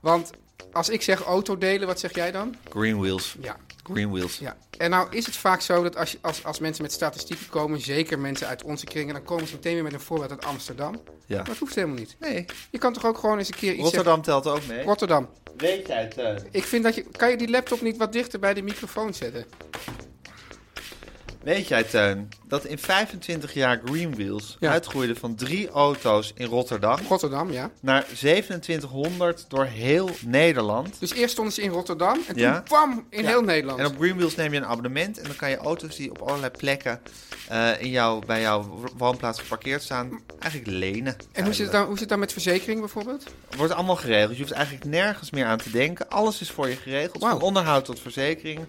Speaker 4: Want als ik zeg autodelen, wat zeg jij dan?
Speaker 1: Green Wheels.
Speaker 4: Ja.
Speaker 1: Green Wheels.
Speaker 4: ja. En nou is het vaak zo dat als, je- als, als mensen met statistieken komen, zeker mensen uit onze kringen, dan komen ze meteen weer met een voorbeeld uit Amsterdam. Maar
Speaker 1: Ja.
Speaker 4: dat hoeft helemaal niet.
Speaker 1: Nee,
Speaker 4: Je kan toch ook gewoon eens een keer iets
Speaker 1: Rotterdam telt ook mee.
Speaker 4: zeggen. Rotterdam.
Speaker 1: Weet eh, uit.
Speaker 4: Ik vind dat je. Kan je die laptop niet wat dichter bij de microfoon zetten?
Speaker 1: Weet jij, Teun, dat in 25 jaar Greenwheels
Speaker 4: Ja.
Speaker 1: uitgroeide van drie auto's in Rotterdam
Speaker 4: Rotterdam, ja.
Speaker 1: naar 2700 door heel Nederland.
Speaker 4: Dus eerst stonden ze in Rotterdam en
Speaker 1: Ja.
Speaker 4: toen kwam in
Speaker 1: Ja.
Speaker 4: heel Nederland.
Speaker 1: En op Greenwheels neem je een abonnement en dan kan je auto's die op allerlei plekken eh, in jouw, bij jouw woonplaats geparkeerd staan, eigenlijk lenen.
Speaker 4: En hoe zit, het dan, hoe zit het dan met verzekering bijvoorbeeld?
Speaker 1: Wordt allemaal geregeld. Je hoeft eigenlijk nergens meer aan te denken. Alles is voor je geregeld.
Speaker 4: Wauw.
Speaker 1: Van onderhoud tot verzekering.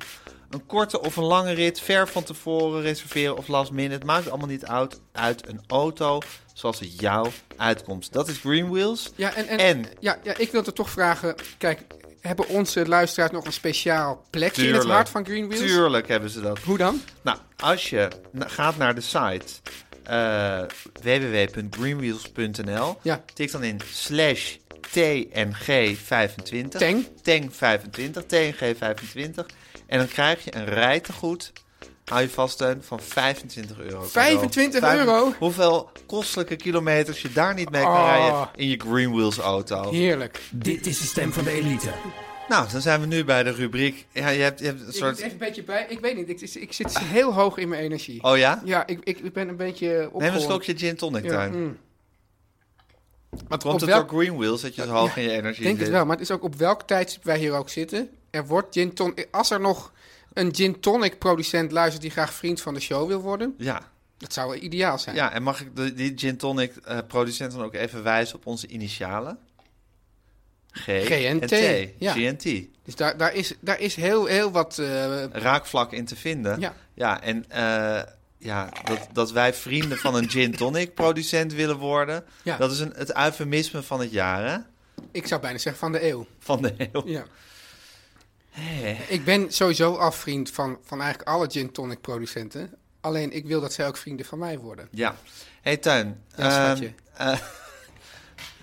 Speaker 1: Een korte of een lange rit, ver van tevoren reserveren of last minute. Maakt allemaal niet uit uit een auto zoals het jou uitkomt. Dat is Greenwheels.
Speaker 4: Ja, en, en,
Speaker 1: En?
Speaker 4: Ja, ja, ik wilde toch vragen. Kijk, hebben onze luisteraars nog een speciaal plekje in het hart van Green Wheels?
Speaker 1: Tuurlijk hebben ze dat.
Speaker 4: Hoe dan?
Speaker 1: Nou, als je na- gaat naar de site eh www.greenwheels.nl,
Speaker 4: Ja.
Speaker 1: tik dan in slash TNG25.
Speaker 4: Tang.
Speaker 1: Tang25, TNG25. En dan krijg je een rijtegoed, hou je vast Teun, van 25 euro. cadeau.
Speaker 4: 25 euro?
Speaker 1: Hoeveel kostelijke kilometers je daar niet mee kan
Speaker 4: Oh.
Speaker 1: rijden in je Greenwheels auto.
Speaker 4: Heerlijk.
Speaker 3: Dit is de stem van de elite.
Speaker 1: Nou, dan zijn we nu bij de rubriek. Ja, je hebt, je hebt
Speaker 4: Ik
Speaker 1: een
Speaker 4: moet
Speaker 1: soort...
Speaker 4: even een beetje bij. Ik weet niet, ik, ik zit heel hoog in mijn energie.
Speaker 1: Oh ja?
Speaker 4: Ja, ik, ik, ik ben een beetje opgewonden.
Speaker 1: Neem een slokje gin tonic,
Speaker 4: Ja,
Speaker 1: Teun.
Speaker 4: mm. Want
Speaker 1: Komt
Speaker 4: op
Speaker 1: het
Speaker 4: welk-
Speaker 1: door Green Wheels dat je zo hoog in je energie
Speaker 4: Ik denk het
Speaker 1: zit?
Speaker 4: wel, maar het is ook op welk tijdstip wij hier ook zitten. Er wordt gin tonic... Als er nog een gin tonic producent luistert die graag vriend van de show wil worden...
Speaker 1: Ja.
Speaker 4: Dat zou ideaal zijn.
Speaker 1: ja, en mag ik de, die gin tonic eh, producent dan ook even wijzen op onze initialen? G,
Speaker 4: GNT,
Speaker 1: en T.
Speaker 4: ja.
Speaker 1: GNT.
Speaker 4: Dus daar, daar, is, daar is heel, heel wat... eh,
Speaker 1: Raakvlak in te vinden.
Speaker 4: Ja.
Speaker 1: ja en eh, ja, dat, dat wij vrienden van een gin tonic producent willen worden,
Speaker 4: Ja.
Speaker 1: dat is een, het eufemisme van het jaar, hè?
Speaker 4: ik zou bijna zeggen van de eeuw.
Speaker 1: Van de heel...
Speaker 4: Ja. Ik ben sowieso al vriend van, van eigenlijk alle gin tonic producenten. Alleen ik wil dat zij ook vrienden van mij worden.
Speaker 1: Ja. hey, Tuin. ehm, eh,
Speaker 4: Ja, schatje.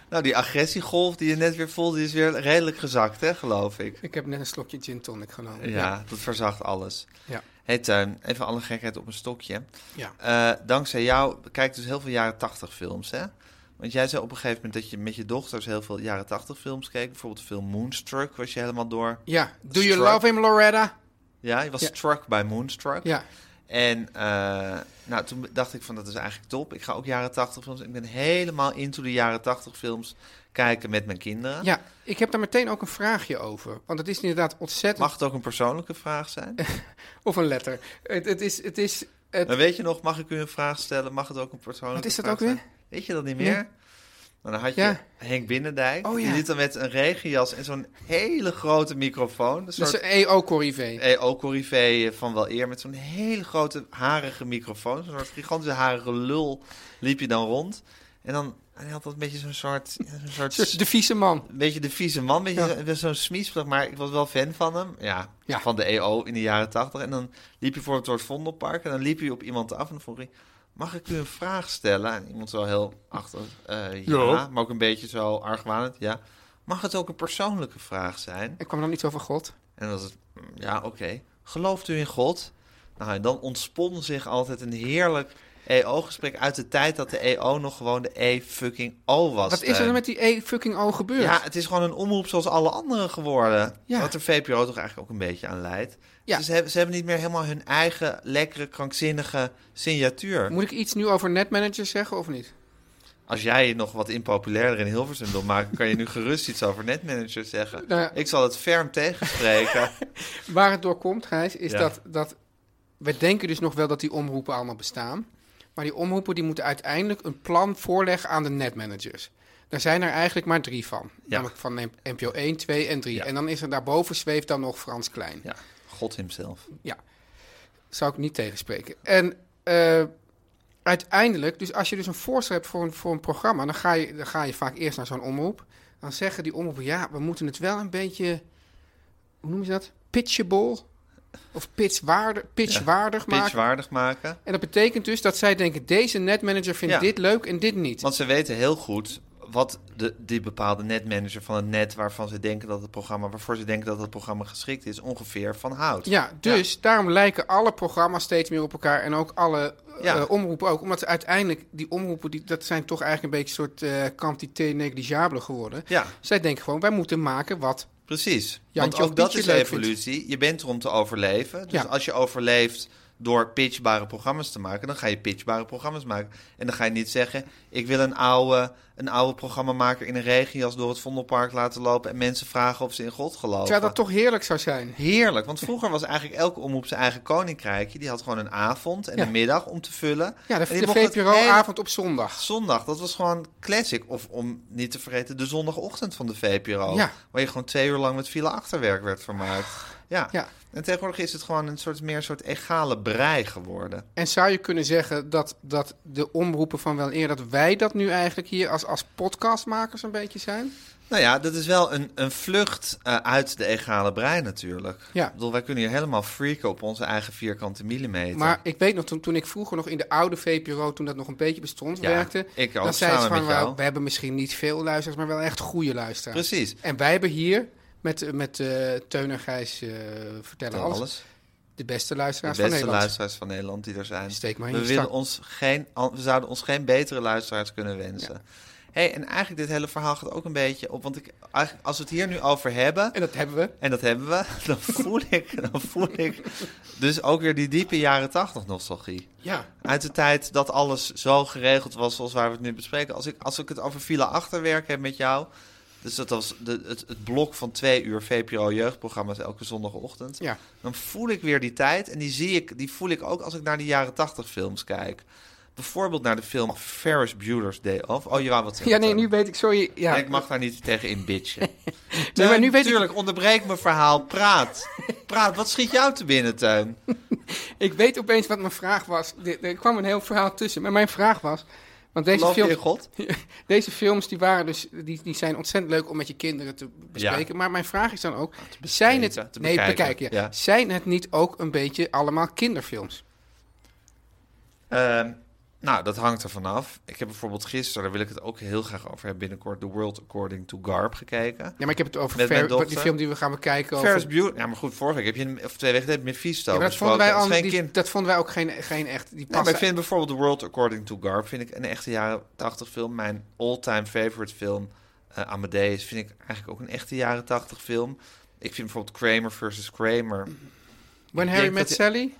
Speaker 1: nou, die agressiegolf die je net weer voelde, die is weer redelijk gezakt, hè, geloof ik.
Speaker 4: Ik heb net een slokje gin tonic genomen.
Speaker 1: Ja, dat verzacht alles.
Speaker 4: Ja.
Speaker 1: Hey Tuin, even alle gekheid op een stokje.
Speaker 4: Ja.
Speaker 1: Eh, dankzij jou kijk ik dus heel veel jaren 80 films, hè? Want jij zei op een gegeven moment dat je met je dochters heel veel jaren 80 films keek. Bijvoorbeeld de film Moonstruck was je helemaal door.
Speaker 4: Ja. Do you
Speaker 1: Struck.
Speaker 4: love him, Loretta?
Speaker 1: Ja, je was
Speaker 4: Ja.
Speaker 1: struck bij Moonstruck.
Speaker 4: Ja.
Speaker 1: En eh, nou, toen dacht ik van dat is eigenlijk top. Ik ga ook jaren 80 films. Ik ben helemaal into de jaren 80 films kijken met mijn kinderen.
Speaker 4: Ja, ik heb daar meteen ook een vraagje over. Want het is inderdaad ontzettend...
Speaker 1: Mag het ook een persoonlijke vraag zijn?
Speaker 4: Of een letter. Het, het is... Het is het,
Speaker 1: Maar weet je nog, mag ik u een vraag stellen? Mag het ook een persoonlijke
Speaker 4: Wat is dat
Speaker 1: vraag
Speaker 4: ook weer?
Speaker 1: zijn? Weet je dat niet meer?
Speaker 4: Ja.
Speaker 1: Maar dan had je
Speaker 4: Ja.
Speaker 1: Henk Binnendijk.
Speaker 4: Oh, ja.
Speaker 1: Die liet dan met een regenjas en zo'n hele grote microfoon. Een
Speaker 4: Dat is
Speaker 1: soort Eh,
Speaker 4: een E EO-corrivé.
Speaker 1: EO-corrivé van wel eer. Met zo'n hele grote harige microfoon. Zo'n soort gigantische harige lul liep je dan rond. En dan en hij had dat een beetje zo'n soort... ja, zo'n soort
Speaker 4: De vieze man.
Speaker 1: een beetje de vieze man, een beetje
Speaker 4: Ja.
Speaker 1: zo- best zo'n smiespelig, maar ik was wel fan van hem. Ja,
Speaker 4: Ja.
Speaker 1: van de EO in de jaren tachtig. En dan liep je voor het soort Vondelpark en dan liep je op iemand af en dan vroeg hij... Mag ik u een vraag stellen? En iemand zo heel achter, eh, ja,
Speaker 4: Ja.
Speaker 1: maar ook een beetje zo argwanend, ja. Mag het ook een persoonlijke vraag zijn?
Speaker 4: Ik kwam dan iets over God.
Speaker 1: En dan was het, "Mm, ja, oké. Gelooft u in God? Nou, en dan ontspon zich altijd een heerlijk EO-gesprek uit de tijd dat de EO nog gewoon de E-fucking-O was.
Speaker 4: Wat is er
Speaker 1: Teun.
Speaker 4: dan met die E-fucking-O gebeurd?
Speaker 1: eh, Ja, het is gewoon een omroep zoals alle anderen geworden.
Speaker 4: Ja.
Speaker 1: Wat de VPRO toch eigenlijk ook een beetje aan leidt.
Speaker 4: Ja.
Speaker 1: Dus ze hebben, ze hebben niet meer helemaal hun eigen lekkere, krankzinnige signatuur.
Speaker 4: Moet ik iets nu over netmanagers zeggen of niet?
Speaker 1: Als jij je nog wat impopulairder in Hilversum wil maken, kan je nu gerust iets over netmanagers zeggen.
Speaker 4: Nou ja.
Speaker 1: Ik zal het ferm tegenspreken.
Speaker 4: Waar het door komt, Gijs, is
Speaker 1: Ja.
Speaker 4: dat, dat... We denken dus nog wel dat die omroepen allemaal bestaan. Maar die omroepen die moeten uiteindelijk een plan voorleggen aan de netmanagers. Daar zijn er eigenlijk maar drie van. Namelijk van NP- NPO 1, 2 en 3.
Speaker 1: Ja.
Speaker 4: En dan is er daarboven zweeft dan nog Frans Klein.
Speaker 1: ja, God himself.
Speaker 4: Ja, zou ik niet tegenspreken. En eh, uiteindelijk, dus als je dus een voorstel hebt voor een, voor een programma, dan ga, je, dan ga je vaak eerst naar zo'n omroep. Dan zeggen die omroepen, ja, we moeten het wel een beetje, hoe noemen ze dat? Pitchable? Of pitchwaardig, pitchwaardig maken.
Speaker 1: Pitchwaardig maken.
Speaker 4: En dat betekent dus dat zij denken, deze netmanager vindt
Speaker 1: Ja.
Speaker 4: dit leuk en dit niet.
Speaker 1: Want ze weten heel goed wat de, die bepaalde netmanager van het net waarvan ze denken dat het programma, waarvoor ze denken dat het programma geschikt is, ongeveer van houdt.
Speaker 4: Ja, dus daarom lijken alle programma's steeds meer op elkaar en ook alle
Speaker 1: Ja.
Speaker 4: eh, omroepen ook. Omdat ze uiteindelijk, die omroepen, die, dat zijn toch eigenlijk een beetje een soort eh quantité negligible geworden.
Speaker 1: Ja.
Speaker 4: Zij denken gewoon, wij moeten maken wat...
Speaker 1: Precies.
Speaker 4: Jantje
Speaker 1: Want
Speaker 4: of
Speaker 1: ook dat
Speaker 4: Pietje
Speaker 1: is
Speaker 4: leuk
Speaker 1: evolutie. Je bent er om te overleven. Dus
Speaker 4: Ja.
Speaker 1: als je overleeft door pitchbare programma's te maken, dan ga je pitchbare programma's maken. En dan ga je niet zeggen: ik wil een oude, een oude programmamaker in een regenjas door het Vondelpark laten lopen en mensen vragen of ze in God geloven.
Speaker 4: Terwijl dat toch heerlijk zou zijn.
Speaker 1: Heerlijk, want vroeger was eigenlijk elke omroep zijn eigen koninkrijkje. Die had gewoon een avond en
Speaker 4: Ja.
Speaker 1: een middag om te vullen.
Speaker 4: Ja, de,
Speaker 1: En die
Speaker 4: de
Speaker 1: mocht het hele-
Speaker 4: VPRO-avond op zondag.
Speaker 1: Zondag, dat was gewoon classic. Of om niet te vergeten, de zondagochtend van de VPRO.
Speaker 4: Ja.
Speaker 1: Waar je gewoon twee uur lang met file achterwerk werd vermaakt. Ja.
Speaker 4: Ja.
Speaker 1: En tegenwoordig is het gewoon een soort meer soort egale brei geworden.
Speaker 4: En zou je kunnen zeggen dat, dat de omroepen van wel eer, dat wij dat nu eigenlijk hier als, als podcastmakers een beetje zijn?
Speaker 1: Nou ja, dat is wel een, een vlucht eh, uit de egale brei natuurlijk.
Speaker 4: Ja.
Speaker 1: Ik bedoel, wij kunnen hier helemaal freaken op onze eigen vierkante millimeter.
Speaker 4: Maar ik weet nog, toen, toen ik vroeger nog in de oude VPRO, toen dat nog een beetje bestond,
Speaker 1: Ja,
Speaker 4: werkte.
Speaker 1: ik ook,
Speaker 4: dan zei ze
Speaker 1: samen
Speaker 4: van,
Speaker 1: met jou.
Speaker 4: wel, we hebben misschien niet veel luisteraars, maar wel echt goede luisteraars.
Speaker 1: Precies.
Speaker 4: En wij hebben hier, met, met eh, Teun en Gijs eh, vertellen alles,
Speaker 1: Alles.
Speaker 4: de beste
Speaker 1: De
Speaker 4: luisteraars
Speaker 1: beste
Speaker 4: van Nederland.
Speaker 1: luisteraars van Nederland die er zijn.
Speaker 4: Steek maar in
Speaker 1: we,
Speaker 4: je
Speaker 1: willen
Speaker 4: zak.
Speaker 1: ons geen, an- we zouden ons geen betere luisteraars kunnen wensen. hey, en eigenlijk dit hele verhaal gaat ook een beetje op. Want ik, eigenlijk, als we het hier nu over hebben,
Speaker 4: En dat hebben we.
Speaker 1: en dat hebben we, dan voel ik, dan voel ik dus ook weer die diepe jaren tachtig nostalgie.
Speaker 4: Ja.
Speaker 1: Uit de tijd dat alles zo geregeld was zoals waar we het nu bespreken. Als ik, als ik het over file achterwerk heb met jou. Dus dat was de, het, het blok van twee uur VPRO jeugdprogramma's elke zondagochtend.
Speaker 4: Ja.
Speaker 1: Dan voel ik weer die tijd en die, zie ik, die voel ik ook als ik naar de jaren tachtig films kijk. Bijvoorbeeld naar de film Ferris Bueller's Day Off. Oh, je wou wat zeggen.
Speaker 4: ja, nee, nu weet ik, sorry. Ja.
Speaker 1: En ik mag daar niet tegen in bitchen.
Speaker 4: nee, maar nu weet ik,
Speaker 1: Tuurlijk, onderbreek mijn verhaal. Praat. Praat, wat schiet jou te binnen, Tuin?
Speaker 4: ik weet opeens wat mijn vraag was. Er, er kwam een heel verhaal tussen. Maar mijn vraag was, want deze
Speaker 1: Geloof je
Speaker 4: film...
Speaker 1: in God?
Speaker 4: Deze films die waren dus, die, die zijn ontzettend leuk om met je kinderen te bespreken. Maar mijn vraag is dan ook: zijn het,
Speaker 1: Ah, te
Speaker 4: nee,
Speaker 1: bekijken.
Speaker 4: bekijken, ja.
Speaker 1: Ja.
Speaker 4: zijn het niet ook een beetje allemaal kinderfilms?
Speaker 1: Ehm, nou, dat hangt er vanaf. Ik heb bijvoorbeeld gisteren, daar wil ik het ook heel graag over hebben binnenkort, The World According to Garb gekeken.
Speaker 4: Ja, maar ik heb het over
Speaker 1: Met mijn
Speaker 4: Fer-
Speaker 1: dochter.
Speaker 4: die film die we gaan bekijken. Over,
Speaker 1: Ferris Bueller. Ja, maar goed, vorige week heb je een, of twee weken geleden Mephisto
Speaker 4: Ja, maar dat,
Speaker 1: besproken.
Speaker 4: vonden wij
Speaker 1: dat
Speaker 4: al,
Speaker 1: is geen
Speaker 4: die-
Speaker 1: kind.
Speaker 4: dat vonden wij ook geen, geen echt. Die
Speaker 1: Nee, maar
Speaker 4: passen.
Speaker 1: ik vind bijvoorbeeld The World According to Garb vind ik een echte jaren 80 film. Mijn all-time favorite film, eh, Amadeus, vind ik eigenlijk ook een echte jaren 80 film. Ik vind bijvoorbeeld Kramer versus Kramer,
Speaker 4: When
Speaker 1: ik
Speaker 4: Harry
Speaker 1: denk
Speaker 4: Met
Speaker 1: dat
Speaker 4: Sally?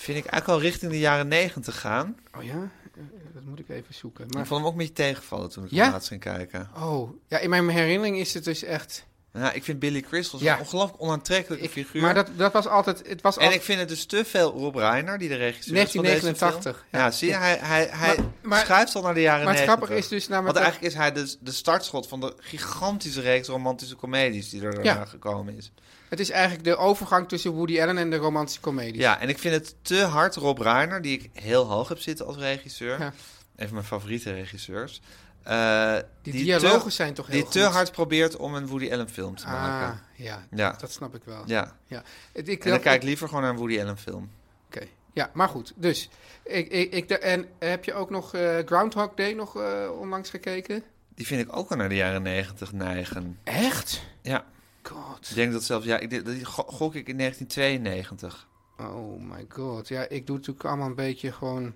Speaker 1: vind ik eigenlijk al richting de jaren 90 gaan.
Speaker 4: Oh ja, Eh, dat moet ik even zoeken.
Speaker 1: Maar
Speaker 4: Maar,
Speaker 1: ik vond hem ook een beetje tegenvallen toen ik
Speaker 4: Ja?
Speaker 1: hem laatst ging kijken.
Speaker 4: oh, ja, in mijn herinnering is het dus echt.
Speaker 1: Nou, ik vind Billy Crystal zo'n
Speaker 4: Ja.
Speaker 1: ongelooflijk onaantrekkelijke
Speaker 4: Ik-
Speaker 1: figuur.
Speaker 4: Maar dat, dat was altijd... Het was
Speaker 1: En
Speaker 4: altijd-
Speaker 1: ik vind het dus te veel Rob Reiner, die de regisseur is van
Speaker 4: 1989,
Speaker 1: deze film. Ja, zie je, hij, hij, hij
Speaker 4: Maar- maar-
Speaker 1: schuift al naar de jaren
Speaker 4: maar het
Speaker 1: 90.
Speaker 4: grappige is dus namelijk
Speaker 1: Want
Speaker 4: dat-
Speaker 1: eigenlijk is hij de, de startschot van de gigantische reeks romantische comedies die er daarna
Speaker 4: Ja.
Speaker 1: gekomen is.
Speaker 4: Het is eigenlijk de overgang tussen Woody Allen en de romantische comedie.
Speaker 1: Ja, en ik vind het te hard Rob Reiner, die ik heel hoog heb zitten als regisseur.
Speaker 4: Ja.
Speaker 1: Een van mijn favoriete regisseurs. eh,
Speaker 4: Die
Speaker 1: te-
Speaker 4: dialogen zijn toch heel
Speaker 1: Die
Speaker 4: goed.
Speaker 1: te hard probeert om een Woody Allen film te
Speaker 4: Ah,
Speaker 1: maken.
Speaker 4: ja,
Speaker 1: Ja.
Speaker 4: dat snap ik wel.
Speaker 1: Ja.
Speaker 4: Ja. Het- Ik,
Speaker 1: En dan
Speaker 4: dat-
Speaker 1: kijk ik liever gewoon naar een Woody Allen film.
Speaker 4: Oké. Ja, maar goed. Dus, ik, ik, ik, de- en heb je ook nog eh, Groundhog Day nog eh, onlangs gekeken?
Speaker 1: Die vind ik ook al naar de jaren 90 neigen.
Speaker 4: Echt?
Speaker 1: Ja,
Speaker 4: God.
Speaker 1: ik denk dat zelfs, ja, ik, denk- dat go- gok ik in 1992.
Speaker 4: Oh my god. Ja, ik doe natuurlijk allemaal een beetje gewoon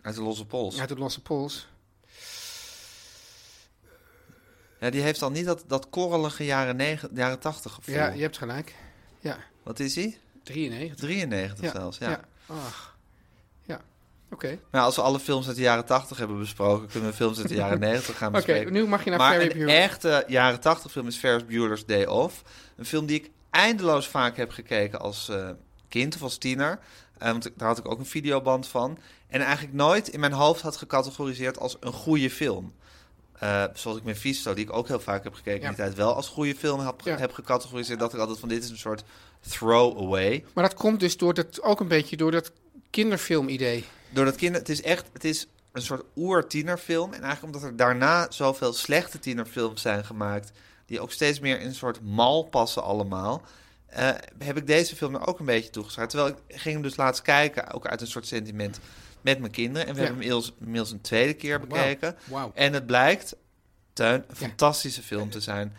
Speaker 1: Uit de losse pols.
Speaker 4: uit de losse pols.
Speaker 1: Ja, die heeft al niet dat, dat korrelige jaren, negen, jaren 80 gevoel.
Speaker 4: Ja, je hebt gelijk. Ja,
Speaker 1: Wat is hij?
Speaker 4: 93.
Speaker 1: 93
Speaker 4: Ja,
Speaker 1: zelfs, ja.
Speaker 4: Ja. Ach. Ja. Oké.
Speaker 1: Maar als we alle films uit de jaren 80 hebben besproken, kunnen we films uit de jaren 90 gaan
Speaker 4: Oké,
Speaker 1: bespreken.
Speaker 4: nu mag je naar
Speaker 1: maar
Speaker 4: Ferry
Speaker 1: een
Speaker 4: Bueller.
Speaker 1: echte jaren 80 film is Ferris Bueller's Day Off. Een film die ik eindeloos vaak heb gekeken als eh, kind of als tiener. Eh, want ik- daar had ik ook een videoband van. En eigenlijk nooit in mijn hoofd had gecategoriseerd als een goede film. Eh, zoals ik Mephisto, die ik ook heel vaak heb gekeken
Speaker 4: Ja.
Speaker 1: in die tijd, wel als goede film heb,
Speaker 4: Ja.
Speaker 1: heb gecategoriseerd. Dat ik altijd van dit is een soort throwaway.
Speaker 4: Maar dat komt dus door dat, ook een beetje door dat kinderfilm-idee.
Speaker 1: Door dat kinder, het is echt, het is een soort oer-tienerfilm. En eigenlijk omdat er daarna zoveel slechte tienerfilms zijn gemaakt, die ook steeds meer in een soort mal passen allemaal, eh, heb ik deze film er ook een beetje toegeschreven. Terwijl ik ging hem dus laatst kijken, ook uit een soort sentiment met mijn kinderen. En we
Speaker 4: Ja.
Speaker 1: hebben hem inmiddels, inmiddels een tweede keer bekeken.
Speaker 4: Oh, Wauw.
Speaker 1: En het blijkt, Tuin, een fantastische film te zijn.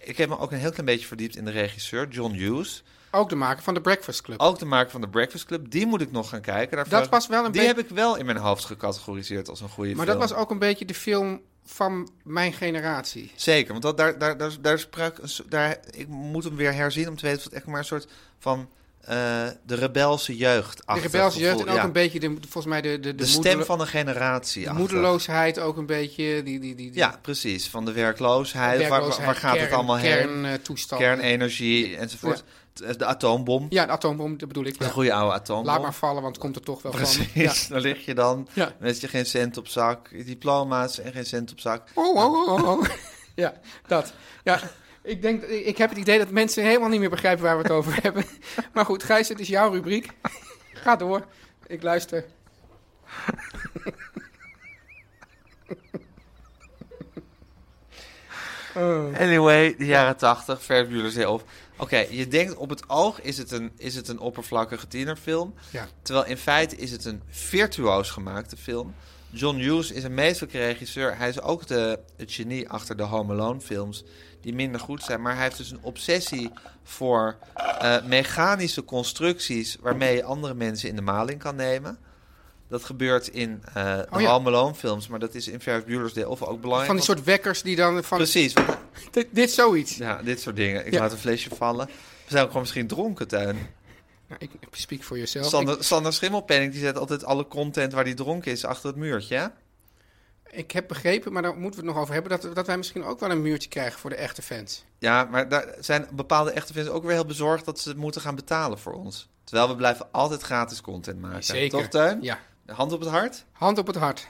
Speaker 1: Ik heb me ook een heel klein beetje verdiept in de regisseur, John Hughes.
Speaker 4: Ook de maker van de Breakfast Club.
Speaker 1: Ook de maker van The Breakfast Club. Die moet ik nog gaan kijken. Daar
Speaker 4: Dat
Speaker 1: vraag ik-
Speaker 4: was wel een
Speaker 1: Die
Speaker 4: beetje-
Speaker 1: heb ik wel in mijn hoofd gecategoriseerd als een goede
Speaker 4: maar dat
Speaker 1: film.
Speaker 4: was ook een beetje de film van mijn generatie.
Speaker 1: Zeker, want dat, daar, daar, daar, daar sprak... een so- Daar, ik moet hem weer herzien om te weten... of het echt maar een soort van... eh, de rebelse jeugd
Speaker 4: De rebelse jeugd en ook
Speaker 1: ja.
Speaker 4: een beetje, de, volgens mij, de, de,
Speaker 1: De
Speaker 4: moedelo-
Speaker 1: stem van een generatie.
Speaker 4: de
Speaker 1: achter.
Speaker 4: moedeloosheid ook een beetje. Die, die, die, die
Speaker 1: Ja, precies. Van de werkloosheid. waar- waar, waar gaat het
Speaker 4: kern-
Speaker 1: allemaal heen?
Speaker 4: Kerntoestand.
Speaker 1: Kernenergie enzovoort. T- De atoombom.
Speaker 4: ja, de atoombom, dat bedoel ik.
Speaker 1: De
Speaker 4: Ja.
Speaker 1: goede oude atoombom.
Speaker 4: Laat maar vallen, want het komt er toch wel van. Ja.
Speaker 1: Precies, daar lig je dan.
Speaker 4: Ja.
Speaker 1: Met je geen cent op zak, diploma's en geen cent op zak.
Speaker 4: Oh, oh, oh, oh. ja, dat. Ja, ik, denk, ik heb het idee dat mensen helemaal niet meer begrijpen waar we het over hebben. Maar goed, Gijs, het is jouw rubriek. Ga door. Ik luister.
Speaker 1: Anyway, de jaren 80, Ferris Bueller's Day Off. Oké, je denkt op het oog is het een, is het een oppervlakkige tienerfilm.
Speaker 4: Ja.
Speaker 1: Terwijl in feite is het een virtuoos gemaakte film. John Hughes is een meesterlijke regisseur. Hij is ook de, het genie achter de Home Alone films, die minder goed zijn. Maar hij heeft dus een obsessie voor eh, mechanische constructies... waarmee je andere mensen in de maling kan nemen. Dat gebeurt in eh, de
Speaker 4: Oh ja.
Speaker 1: Home Alone films, maar dat is in Ferris Bueller's Day Off ook belangrijk.
Speaker 4: Van die
Speaker 1: want-
Speaker 4: soort wekkers die dan van...
Speaker 1: Precies, want
Speaker 4: Dit, dit is zoiets.
Speaker 1: ja, dit soort dingen. Ik
Speaker 4: Ja.
Speaker 1: laat een flesje vallen. We zijn ook gewoon misschien dronken, Tuin.
Speaker 4: Nou, ik speak voor jezelf.
Speaker 1: Sander, Sander Schimmelpenning die zet altijd alle content waar die dronken is achter het muurtje. hè?
Speaker 4: Ik, ik heb begrepen, maar daar moeten we het nog over hebben... Dat, dat wij misschien ook wel een muurtje krijgen voor de echte fans.
Speaker 1: Ja, maar daar zijn bepaalde echte fans ook weer heel bezorgd dat ze moeten gaan betalen voor ons. Terwijl we blijven altijd gratis content maken. Toch, Tuin?
Speaker 4: Ja.
Speaker 1: Hand op het hart.
Speaker 4: Hand op het hart.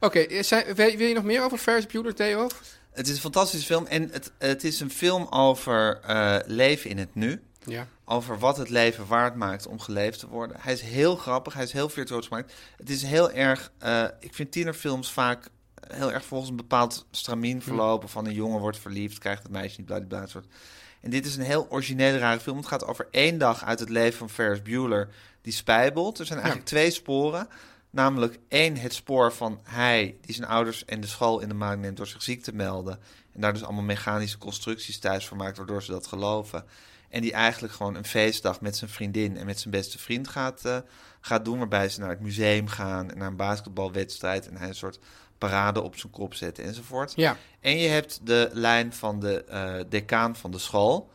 Speaker 4: Oké, eh, zijn- wil, wil je nog meer over Ferris Bueller's Day Off?
Speaker 1: Het is een fantastische film en het, het is een film over eh, leven in het nu.
Speaker 4: Ja.
Speaker 1: over wat het leven waard maakt om geleefd te worden. Hij is heel grappig, hij is heel virtuoos gemaakt. Het is heel erg, eh, ik vind tienerfilms vaak heel erg volgens een bepaald stramien verlopen. Van een jongen wordt verliefd, krijgt het meisje niet, bladibla, dat soort. En dit is een heel originele, rare film. Het gaat over één dag uit het leven van Ferris Bueller, die spijbelt. Er zijn eigenlijk twee sporen. Namelijk één, het spoor van hij die zijn ouders en de school in de maling neemt door zich ziek te melden. En daar dus allemaal mechanische constructies thuis voor maakt, waardoor ze dat geloven. En die eigenlijk gewoon een feestdag met zijn vriendin en met zijn beste vriend gaat, eh, gaat doen. Waarbij ze naar het museum gaan en naar een basketbalwedstrijd. En hij een soort parade op zijn kop zet enzovoort.
Speaker 4: Ja.
Speaker 1: En je hebt de lijn van de eh, decaan van de school.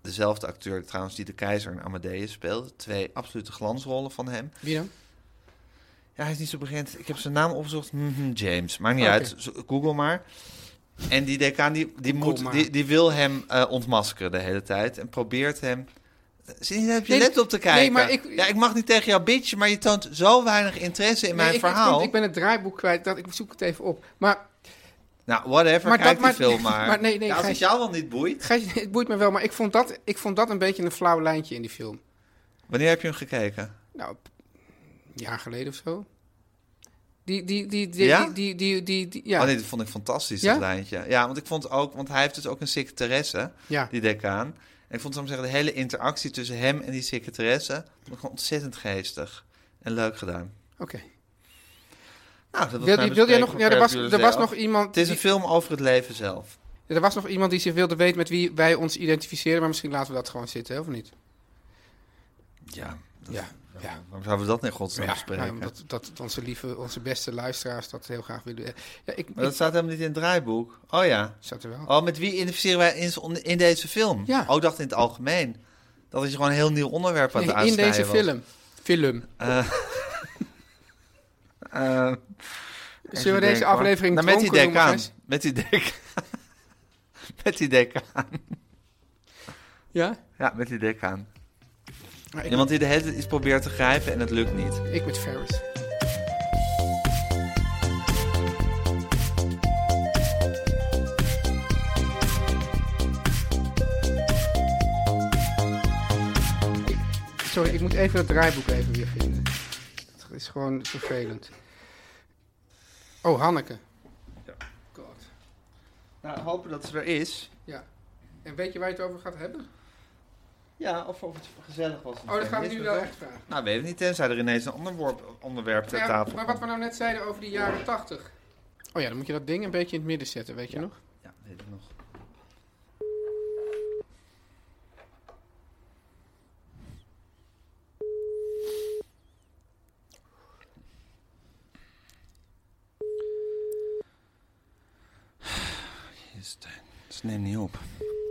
Speaker 1: Dezelfde acteur trouwens die de keizer in Amadeus speelt. Twee absolute glansrollen van hem.
Speaker 4: Wie dan?
Speaker 1: Ja, hij is niet zo bekend. Ik heb zijn naam opgezocht. Mhm, James. Maakt niet
Speaker 4: Oké.
Speaker 1: uit. Zo- Google maar. En die decaan die, die moet,
Speaker 4: maar.
Speaker 1: die, die wil hem eh, ontmaskeren de hele tijd. En probeert hem... Zie je, daar heb je
Speaker 4: Nee,
Speaker 1: laptop te
Speaker 4: nee,
Speaker 1: kijken.
Speaker 4: maar ik-
Speaker 1: ja, ik mag niet tegen jou bitchen, maar je toont zo weinig interesse in
Speaker 4: Nee,
Speaker 1: mijn
Speaker 4: ik- ik
Speaker 1: verhaal.
Speaker 4: vind- Ik, ben het draaiboek kwijt, dat, ik zoek het even op. Maar
Speaker 1: Nou, whatever,
Speaker 4: Maar
Speaker 1: kijk
Speaker 4: dat-
Speaker 1: die
Speaker 4: maar-
Speaker 1: film maar.
Speaker 4: maar nee, nee,
Speaker 1: Ja, als het
Speaker 4: Gijs-
Speaker 1: jou wel niet boeit.
Speaker 4: Gijs, het boeit me wel, maar ik vond, dat, ik vond dat een beetje een flauw lijntje in die film.
Speaker 1: Wanneer heb je hem gekeken?
Speaker 4: Nou, p- een jaar geleden of zo. Die, die, die, die,
Speaker 1: Ja?
Speaker 4: die, die, die, die- die- ja.
Speaker 1: Oh nee, dat vond ik fantastisch,
Speaker 4: Ja?
Speaker 1: dat lijntje. Ja, want ik vond ook, want hij heeft dus ook een secretaresse,
Speaker 4: ja.
Speaker 1: die decaan. En ik vond, zou ik maar zeggen, de hele interactie tussen hem en die secretaresse, vond ik gewoon ontzettend geestig. En leuk gedaan.
Speaker 4: Oké.
Speaker 1: Nou, dat was
Speaker 4: Wil,
Speaker 1: mijn
Speaker 4: die- wil jij
Speaker 1: bespreking
Speaker 4: nog?
Speaker 1: van
Speaker 4: Ja, er
Speaker 1: Ferris
Speaker 4: was,
Speaker 1: Bueller's
Speaker 4: er was
Speaker 1: Day Off.
Speaker 4: nog iemand.
Speaker 1: Het is een
Speaker 4: die-
Speaker 1: film over het leven zelf.
Speaker 4: er was nog iemand die zich wilde weten met wie wij ons identificeren, maar misschien laten we dat gewoon zitten, hè, of niet?
Speaker 1: Ja, dat-
Speaker 4: Ja. Ja.
Speaker 1: waarom zouden we dat in godsnaam
Speaker 4: Ja,
Speaker 1: bespreken?
Speaker 4: nou, omdat dat onze lieve, onze beste luisteraars dat heel graag willen. Ja, ik,
Speaker 1: Maar dat
Speaker 4: ik
Speaker 1: staat helemaal niet in het draaiboek. Oh ja.
Speaker 4: zat er wel.
Speaker 1: Oh, met wie identificeren wij in, in deze film?
Speaker 4: Ja.
Speaker 1: Oh, ik dacht in het algemeen. Dat is gewoon een heel nieuw onderwerp aan het
Speaker 4: Nee, in
Speaker 1: aansnijden
Speaker 4: deze
Speaker 1: was.
Speaker 4: film. Film.
Speaker 1: Eh, even
Speaker 4: Zullen we deze
Speaker 1: denken, hoor.
Speaker 4: aflevering
Speaker 1: nou, met die
Speaker 4: dronken noemen,
Speaker 1: decaan.
Speaker 4: Gijs?
Speaker 1: Met die decaan. met die decaan.
Speaker 4: Ja?
Speaker 1: Ja, met die decaan.
Speaker 4: Maar ik,
Speaker 1: Iemand die de hele tijd iets probeert te grijpen en het lukt niet.
Speaker 4: ik met Ferris. Ik- Sorry, ik moet even het draaiboek even weer vinden. Het is gewoon vervelend. Oh, Hanneke.
Speaker 1: Ja.
Speaker 4: God.
Speaker 1: Nou, hopen dat ze er is.
Speaker 4: Ja. En weet je waar je het over gaat hebben?
Speaker 1: Ja, of of het gezellig was.
Speaker 4: Oh, dat gaan we nu wel echt vragen.
Speaker 1: Nou, weet ik niet, tenzij er ineens een ander worp- onderwerp ter
Speaker 4: Ja,
Speaker 1: tafel
Speaker 4: Maar wat we nou net zeiden over die jaren tachtig. Oh ja, dan moet je dat ding een beetje in het midden zetten, weet je nog?
Speaker 1: komt. Ja, weet ik nog. Jezus, Stijn. Ze neemt niet op.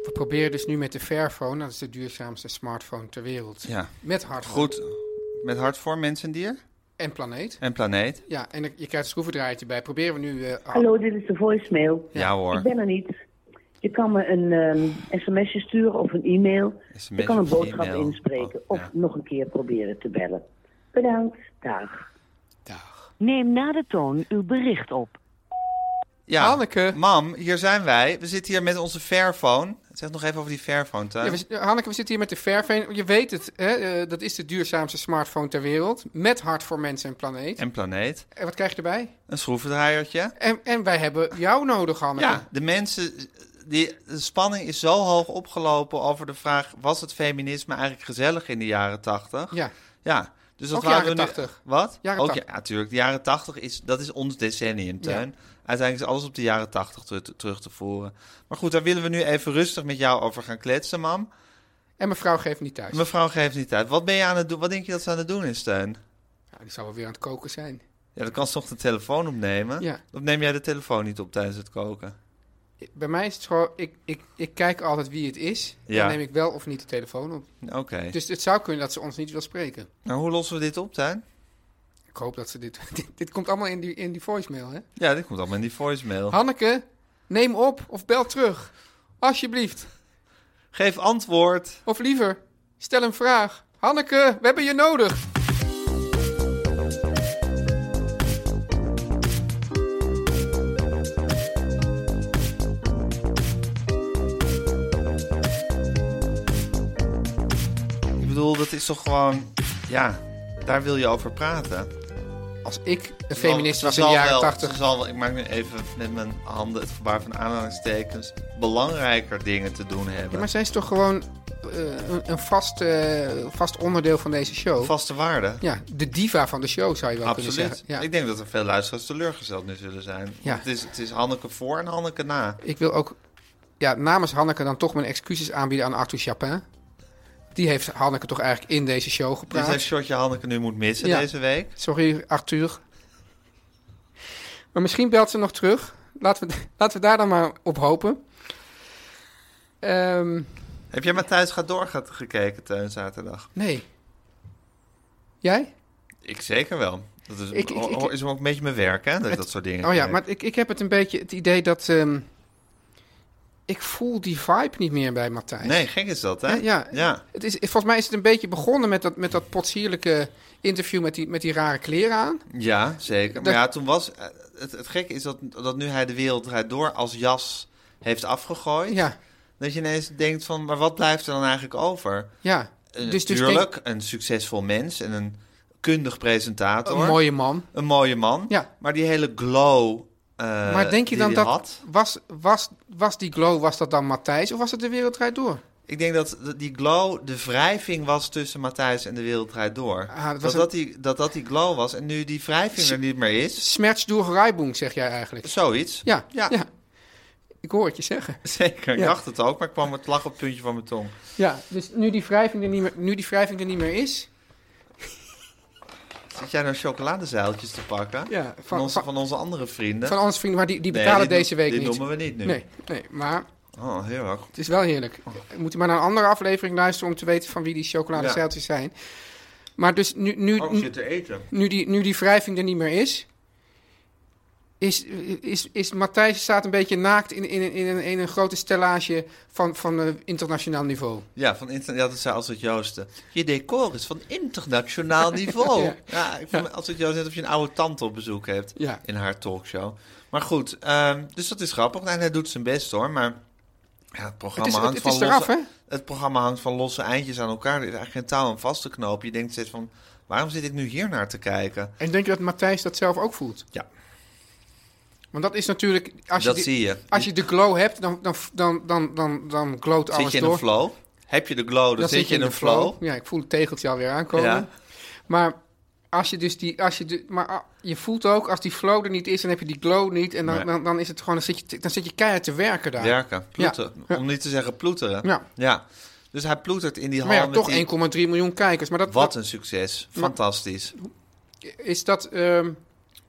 Speaker 4: We proberen dus nu met de Fairphone, dat is de duurzaamste smartphone ter wereld.
Speaker 1: Ja,
Speaker 4: Met hardware
Speaker 1: goed. Met hart voor mens en dier
Speaker 4: en planeet.
Speaker 1: en planeet.
Speaker 4: Ja, en je krijgt een schroevendraaiertje bij. Proberen we nu... eh,
Speaker 6: Hallo, dit is dus de voicemail.
Speaker 1: Ja,
Speaker 6: Ik
Speaker 1: hoor.
Speaker 6: ben er niet. Je kan me een ehm, sms'je sturen of een e-mail.
Speaker 1: SMS
Speaker 6: Je kan een
Speaker 1: of
Speaker 6: boodschap
Speaker 1: e-mail.
Speaker 6: inspreken
Speaker 1: Oh,
Speaker 6: of
Speaker 1: ja.
Speaker 6: nog een keer proberen te bellen. Bedankt. Dag.
Speaker 4: Dag.
Speaker 6: Neem na de toon uw bericht op.
Speaker 1: Ja,
Speaker 4: Hanneke.
Speaker 1: Mam, hier zijn wij. We zitten hier met onze Fairphone. Zeg nog even over die Fairphone, Tuin.
Speaker 4: Ja, we, zitten- Hanneke, we zitten hier met de Fairphone. Je weet het, hè? eh, dat is de duurzaamste smartphone ter wereld. Met hart voor mensen en planeet. En,
Speaker 1: En planeet.
Speaker 4: wat krijg je erbij?
Speaker 1: Een schroevendraaiertje.
Speaker 4: En, en wij hebben jou nodig, Hanneke.
Speaker 1: Ja, de mensen... Die, de spanning is zo hoog opgelopen over de vraag... was het feminisme eigenlijk gezellig in de jaren tachtig?
Speaker 4: Ja.
Speaker 1: Ja, dus dat
Speaker 4: Ook
Speaker 1: waren
Speaker 4: jaren
Speaker 1: we nu-
Speaker 4: 80.
Speaker 1: Wat?
Speaker 4: Jaren
Speaker 1: Ook,
Speaker 4: 80.
Speaker 1: Ja, natuurlijk. De jaren 80 is, dat is ons decennium, Tuin. Uiteindelijk is alles op de jaren 80 te- te- terug te voeren. Maar goed, daar willen we nu even rustig met jou over gaan kletsen, mam.
Speaker 4: En mevrouw geeft niet thuis.
Speaker 1: Mevrouw geeft niet uit. Wat ben je aan het doen? Wat denk je dat ze aan het doen is, Tuin?
Speaker 4: Ja, die zal wel weer aan het koken zijn.
Speaker 1: Ja, dan kan ze toch de telefoon opnemen?
Speaker 4: Ja.
Speaker 1: Of neem jij de telefoon niet op tijdens het koken?
Speaker 4: Bij mij is het gewoon, ik, ik, ik kijk altijd wie het is.
Speaker 1: Ja.
Speaker 4: Dan neem ik wel of niet de telefoon op.
Speaker 1: Oké.
Speaker 4: Dus het zou kunnen dat ze ons niet wil spreken.
Speaker 1: Nou, hoe lossen we dit op, Tuin?
Speaker 4: Ik hoop dat ze dit... Dit, dit komt allemaal in die, in die voicemail, hè?
Speaker 1: Ja, dit komt allemaal in die voicemail.
Speaker 4: Hanneke, neem op of bel terug. Alsjeblieft.
Speaker 1: Geef antwoord.
Speaker 4: Of liever, stel een vraag. Hanneke, we hebben je nodig.
Speaker 1: Ik bedoel, dat is toch gewoon... Ja, daar wil je over praten.
Speaker 4: Als ik een feminist
Speaker 1: Ze
Speaker 4: was in
Speaker 1: zal
Speaker 4: de jaren
Speaker 1: wel-
Speaker 4: tachtig...
Speaker 1: ze zal wel- Ik maak nu even met mijn handen het gebaar van aanhalingstekens... belangrijker dingen te doen hebben.
Speaker 4: Ja, maar zij is toch gewoon eh, een, een vast, eh, vast onderdeel van deze show?
Speaker 1: Vaste waarden.
Speaker 4: Ja, de diva van de show zou je wel kunnen
Speaker 1: Absoluut.
Speaker 4: zeggen. Ja.
Speaker 1: Ik denk dat er veel luisteraars teleurgesteld nu zullen zijn. Want
Speaker 4: Ja.
Speaker 1: Het, is, het is Hanneke voor en Hanneke na.
Speaker 4: Ik wil ook ja, namens Hanneke dan toch mijn excuses aanbieden aan Arthur Chapin. Die heeft Hanneke toch eigenlijk in deze show
Speaker 1: Dit
Speaker 4: gepraat.
Speaker 1: is een shotje Hanneke nu moet missen
Speaker 4: Ja.
Speaker 1: deze week.
Speaker 4: Sorry, Arthur. Maar misschien belt ze nog terug. Laten we, laten we daar dan maar op hopen. Ehm,
Speaker 1: Heb jij Matthijs gaat door gaat gekeken, Teun, zaterdag?
Speaker 4: nee. Jij?
Speaker 1: Ik zeker wel. Dat is,
Speaker 4: Ik- ik- ik-
Speaker 1: is ook een beetje mijn werk, hè? Dat, ik dat soort dingen.
Speaker 4: Oh ja,
Speaker 1: kijk.
Speaker 4: maar ik, ik heb het een beetje het idee dat... ehm, ik voel die vibe niet meer bij Matthijs.
Speaker 1: Nee, gek is dat, hè?
Speaker 4: Ja, ja.
Speaker 1: ja.
Speaker 4: Het is, volgens mij is het een beetje begonnen met dat, met dat potsierlijke interview met die, met die rare kleren aan.
Speaker 1: Ja, zeker. Maar
Speaker 4: Dat-
Speaker 1: ja, toen was... eh, Het, het gekke is dat, dat nu hij de wereld draait door als jas heeft afgegooid.
Speaker 4: Ja,
Speaker 1: Dat je ineens denkt van, maar wat blijft er dan eigenlijk over?
Speaker 4: ja.
Speaker 1: Eh,
Speaker 4: Dus- dus
Speaker 1: Tuurlijk, een succesvol mens en een kundig presentator.
Speaker 4: Een mooie man.
Speaker 1: Een mooie man.
Speaker 4: Ja.
Speaker 1: Maar die hele glow eh,
Speaker 4: maar denk je
Speaker 1: die
Speaker 4: dan
Speaker 1: hij
Speaker 4: dat...
Speaker 1: had,
Speaker 4: Was, was, was die glow, was dat dan Matthijs of was het de wereld draait door?
Speaker 1: Ik denk dat dat die glow de wrijving was tussen Matthijs en de Wereld Draait Door.
Speaker 4: Ah, dat
Speaker 1: dat,
Speaker 4: was
Speaker 1: dat,
Speaker 4: een-
Speaker 1: die, dat dat die glow was en nu die wrijving er niet meer is.
Speaker 4: Smerts door Rijboeng, zeg jij eigenlijk.
Speaker 1: Zoiets.
Speaker 4: Ja, ja.
Speaker 1: Ja.
Speaker 4: Ik hoor het je zeggen.
Speaker 1: Zeker, ik
Speaker 4: Ja.
Speaker 1: dacht het ook, maar ik kwam het lach op het puntje van mijn tong.
Speaker 4: Ja, dus nu die wrijving er niet meer, nu die wrijving er niet meer is...
Speaker 1: Zit jij nou chocoladezeiltjes te pakken?
Speaker 4: Ja, van-
Speaker 1: van, onze,
Speaker 4: van-
Speaker 1: van onze andere vrienden?
Speaker 4: Van onze vrienden, maar die, die
Speaker 1: Nee,
Speaker 4: betalen
Speaker 1: dit doen-
Speaker 4: deze week
Speaker 1: dit
Speaker 4: niet.
Speaker 1: noemen we niet Oh. nu.
Speaker 4: Nee, nee, maar
Speaker 1: Oh, heel erg.
Speaker 4: het is wel heerlijk. Moet u maar naar een andere aflevering luisteren om te weten van wie die chocoladezeiltjes zijn. Maar dus nu, nu,
Speaker 1: Oh, ik
Speaker 4: nu,
Speaker 1: zit te eten.
Speaker 4: nu die, nu die wrijving er niet meer is, is, is, is Matthijs staat een beetje naakt in, in, in, een, in een grote stellage van, van eh, internationaal niveau.
Speaker 1: Ja, van interna- ja, dat zei Alfred Joosten. Je decor is van internationaal niveau.
Speaker 4: Ja.
Speaker 1: ja. ik vond Alfred Joosten net of je een oude tante op bezoek hebt
Speaker 4: Ja.
Speaker 1: in haar talkshow. Maar goed, ehm, dus dat is grappig. Nou, en hij doet zijn best hoor, maar ja, het
Speaker 4: Het
Speaker 1: programma
Speaker 4: is, het,
Speaker 1: hangt
Speaker 4: het
Speaker 1: van
Speaker 4: is eraf,
Speaker 1: losse,
Speaker 4: hè?
Speaker 1: Het programma hangt van losse eindjes aan elkaar. Er is eigenlijk geen touw aan vast te knopen. Je denkt steeds van, waarom zit ik nu hier naar te kijken?
Speaker 4: En denk je dat Matthijs dat zelf ook voelt?
Speaker 1: Ja.
Speaker 4: Want dat is natuurlijk... Als je
Speaker 1: dat
Speaker 4: die-
Speaker 1: zie je.
Speaker 4: Als je de glow hebt, dan, dan, dan, dan, dan, dan glowt alles
Speaker 1: zit je in
Speaker 4: door.
Speaker 1: een flow? Heb je de glow, dan, zit je in een flow.
Speaker 4: Ja, ik voel het tegeltje alweer aankomen.
Speaker 1: Ja.
Speaker 4: Maar als je dus die, als je de, maar ah, je voelt ook als die flow er niet is, dan heb je die glow niet en dan,
Speaker 1: Nee.
Speaker 4: dan, dan is het gewoon, dan zit je, te- dan zit je keihard te werken daar.
Speaker 1: Werken, ploeten.
Speaker 4: Ja.
Speaker 1: Om niet te zeggen ploeteren.
Speaker 4: Ja.
Speaker 1: Dus hij ploetert in die hal
Speaker 4: Maar ja,
Speaker 1: met
Speaker 4: toch
Speaker 1: die-
Speaker 4: 1,3 miljoen kijkers. Maar dat,
Speaker 1: Wat een succes. Fantastisch.
Speaker 4: dat- is dat. ehm,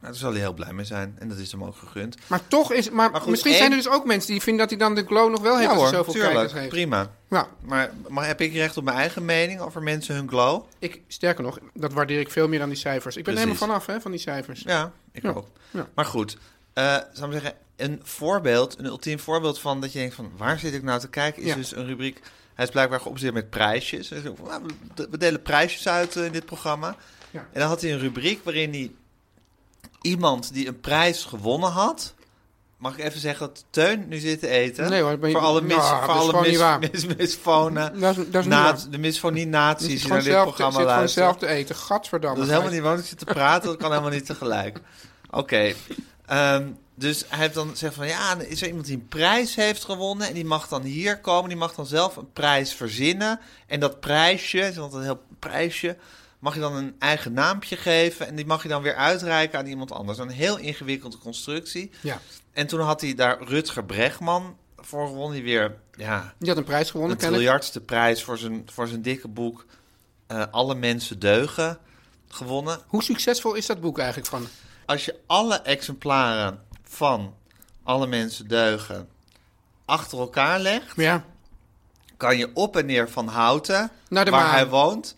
Speaker 1: Nou, daar zal hij heel blij mee zijn. En dat is hem ook gegund.
Speaker 4: maar toch is, maar,
Speaker 1: Maar goed,
Speaker 4: misschien
Speaker 1: één-
Speaker 4: zijn er dus ook mensen die vinden dat hij dan de glow nog wel heeft als hij zoveel kijkers heeft.
Speaker 1: Prima.
Speaker 4: Nou,
Speaker 1: Maar, maar heb ik recht op mijn eigen mening over mensen hun glow?
Speaker 4: ik, sterker nog, dat waardeer ik veel meer dan die cijfers. Ik ben er
Speaker 1: Precies.
Speaker 4: helemaal vanaf hè, van die cijfers.
Speaker 1: Ja, ik
Speaker 4: Ja,
Speaker 1: ook.
Speaker 4: ja.
Speaker 1: Maar goed, eh zou ik zeggen, een voorbeeld, een ultiem voorbeeld van dat je denkt van waar zit ik nou te kijken, is
Speaker 4: Ja.
Speaker 1: dus een rubriek. Hij is blijkbaar geobsedeerd met prijsjes. Hij zegt, "Nou, we- we delen prijsjes uit eh, in dit programma.
Speaker 4: Ja.
Speaker 1: En dan had hij een rubriek waarin hij iemand die een prijs gewonnen had. Mag ik even zeggen dat Teun nu zit te eten?
Speaker 4: Nee hoor, ben je-
Speaker 1: voor alle mis,
Speaker 4: Nou, dat
Speaker 1: voor
Speaker 4: is
Speaker 1: alle
Speaker 4: gewoon niet
Speaker 1: mis,
Speaker 4: waar.
Speaker 1: mis- misfonen,
Speaker 4: Dat is, dat is niet
Speaker 1: na-
Speaker 4: waar.
Speaker 1: de misfonie
Speaker 4: Je zit
Speaker 1: naties die
Speaker 4: gewoon
Speaker 1: naar dit
Speaker 4: zelf te-
Speaker 1: programma
Speaker 4: zit gewoon
Speaker 1: luisteren.
Speaker 4: zelf te eten. Gadverdamme.
Speaker 1: Dat is helemaal niet waar, want ik zit te praten, dat kan helemaal niet tegelijk. Oké, ehm, dus hij heeft dan gezegd van ja, is er iemand die een prijs heeft gewonnen en die mag dan hier komen, die mag dan zelf een prijs verzinnen. En dat prijsje, want een heel prijsje, mag je dan een eigen naampje geven en die mag je dan weer uitreiken aan iemand anders. Een heel ingewikkelde constructie.
Speaker 4: Ja.
Speaker 1: En toen had hij daar Rutger Bregman voor gewonnen, die weer, ja,
Speaker 4: Die had een prijs gewonnen,
Speaker 1: de
Speaker 4: kennelijk.
Speaker 1: miljardste prijs voor zijn, voor zijn dikke boek eh, Alle mensen deugen gewonnen.
Speaker 4: Hoe succesvol is dat boek eigenlijk van?
Speaker 1: Als je alle exemplaren van Alle mensen deugen achter elkaar legt,
Speaker 4: Ja.
Speaker 1: kan je op en neer van Houten,
Speaker 4: Naar de
Speaker 1: waar
Speaker 4: Maan.
Speaker 1: hij woont,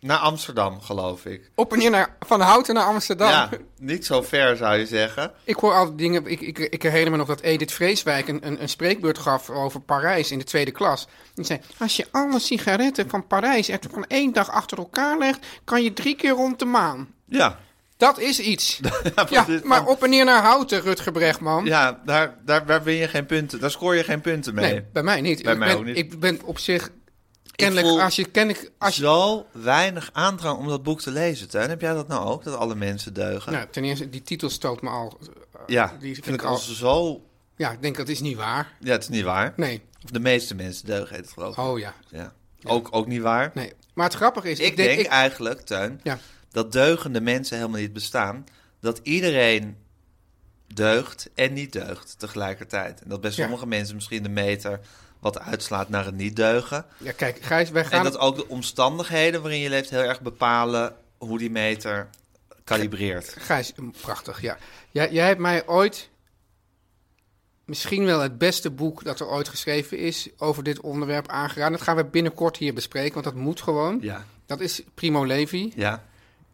Speaker 1: naar Amsterdam, geloof ik.
Speaker 4: Op en neer naar, van Houten naar Amsterdam.
Speaker 1: Ja, niet zo ver zou je zeggen.
Speaker 4: Ik hoor al die dingen. Ik, ik, ik herinner me nog dat Edith Vreeswijk een, een, een spreekbeurt gaf over Parijs in de tweede klas. Die zei: Als je alle sigaretten van Parijs echt van één dag achter elkaar legt, kan je drie keer rond de maan.
Speaker 1: Ja,
Speaker 4: Dat is iets. ja,
Speaker 1: precies.
Speaker 4: maar op en neer naar Houten, Rutger Bregman.
Speaker 1: ja daar, daar, daar win je geen punten. Daar scoor je geen punten mee.
Speaker 4: nee, bij mij niet.
Speaker 1: Bij
Speaker 4: ik,
Speaker 1: mij
Speaker 4: ben,
Speaker 1: ook niet.
Speaker 4: ik ben op zich. Kennelijk,
Speaker 1: voel-
Speaker 4: als je, kennelijk, als je
Speaker 1: Zo weinig aandrang om dat boek te lezen, Tuin. Heb jij dat nou ook, dat alle mensen deugen?
Speaker 4: Nou, ten eerste, die titel stoot me al. eh,
Speaker 1: Ja,
Speaker 4: die
Speaker 1: vind ik al zo...
Speaker 4: Ja, ik denk dat is niet waar.
Speaker 1: Ja, het is niet waar.
Speaker 4: Nee.
Speaker 1: Of de meeste mensen deugen heet het geloof ik.
Speaker 4: Oh ja.
Speaker 1: Ja. Ook, ook niet waar.
Speaker 4: Nee. Maar het grappige is.
Speaker 1: Ik denk
Speaker 4: ik-
Speaker 1: eigenlijk, Tuin,
Speaker 4: Ja.
Speaker 1: dat deugende mensen helemaal niet bestaan. Dat iedereen deugt en niet deugt tegelijkertijd. En dat bij
Speaker 4: Ja.
Speaker 1: sommige mensen misschien de meter wat uitslaat naar het niet deugen.
Speaker 4: Ja, kijk, Gijs, wij
Speaker 1: En
Speaker 4: gaan.
Speaker 1: dat ook de omstandigheden waarin je leeft heel erg bepalen hoe die meter kalibreert.
Speaker 4: Gijs, mm, prachtig, ja. Jij, jij hebt mij ooit. Misschien wel het beste boek dat er ooit geschreven is over dit onderwerp aangeraden. Dat gaan we binnenkort hier bespreken, want dat moet gewoon.
Speaker 1: Ja,
Speaker 4: Dat is Primo Levi.
Speaker 1: ja.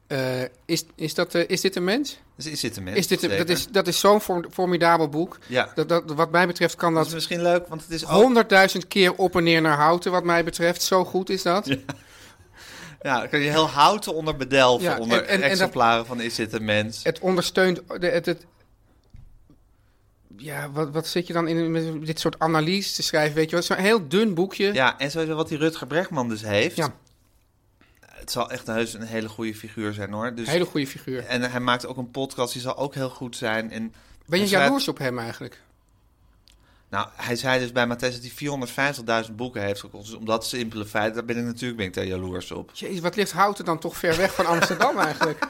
Speaker 4: Eh, Eh, is, is, dat, eh, is dit een mens?
Speaker 3: Dus is dit een mens?
Speaker 4: Is dit een-
Speaker 3: Zeker.
Speaker 4: dat is, dat is zo'n for- formidabel boek.
Speaker 3: Ja.
Speaker 4: Dat, dat, wat mij betreft kan
Speaker 3: Dat is
Speaker 4: dat
Speaker 3: misschien leuk, want het is ook...
Speaker 4: honderdduizend keer op en neer naar houten, wat mij betreft. Zo goed is dat.
Speaker 3: Ja, dan kun je heel houten onder bedelven,
Speaker 4: Ja,
Speaker 3: onder
Speaker 4: en- en- en dat-
Speaker 3: exemplaren van is dit een mens?
Speaker 4: Het ondersteunt. De, het, het- ja, wat, wat zit je dan in een- met dit soort analyse te schrijven? Weet je wel, zo'n heel dun boekje.
Speaker 3: Ja, en sowieso wat die Rutger Bregman dus heeft.
Speaker 4: Ja.
Speaker 3: Het zal echt heus een hele goede figuur zijn hoor. Dus,
Speaker 4: Hele goede figuur.
Speaker 3: En hij maakt ook een podcast, die zal ook heel goed zijn. En,
Speaker 4: Ben je
Speaker 3: en schrijft-
Speaker 4: jaloers op hem eigenlijk?
Speaker 3: Nou, hij zei dus bij Matthijs dat hij 450.000 boeken heeft gekocht. Dus om dat simpele feit, daar ben ik natuurlijk ben ik daar jaloers op.
Speaker 4: Jezus, wat ligt houten dan toch ver weg van Amsterdam eigenlijk?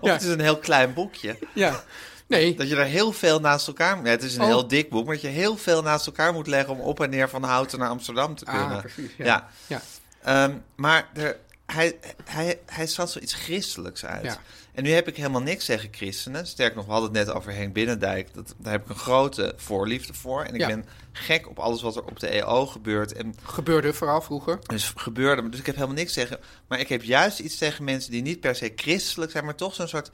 Speaker 3: Of
Speaker 4: Ja.
Speaker 3: het is een heel klein boekje.
Speaker 4: Ja. Nee.
Speaker 3: Dat je er heel veel naast elkaar... Ja, het is een
Speaker 4: Oh.
Speaker 3: heel dik boek, maar dat je heel veel naast elkaar moet leggen... om op en neer van Houten naar Amsterdam te kunnen.
Speaker 4: Ah, precies. Ja.
Speaker 3: Ja.
Speaker 4: Ja.
Speaker 3: Ehm, maar er, hij, hij, hij zat zoiets christelijks uit.
Speaker 4: Ja.
Speaker 3: En nu heb ik helemaal niks tegen christenen. Sterk nog, we hadden het net over Henk Binnendijk. Dat, daar heb ik een grote voorliefde voor. En ik
Speaker 4: Ja.
Speaker 3: ben gek op alles wat er op de EO gebeurt. En
Speaker 4: Gebeurde vooral vroeger.
Speaker 3: dus gebeurde. me. Dus ik heb helemaal niks tegen. Maar ik heb juist iets tegen mensen die niet per se christelijk zijn, maar toch zo'n soort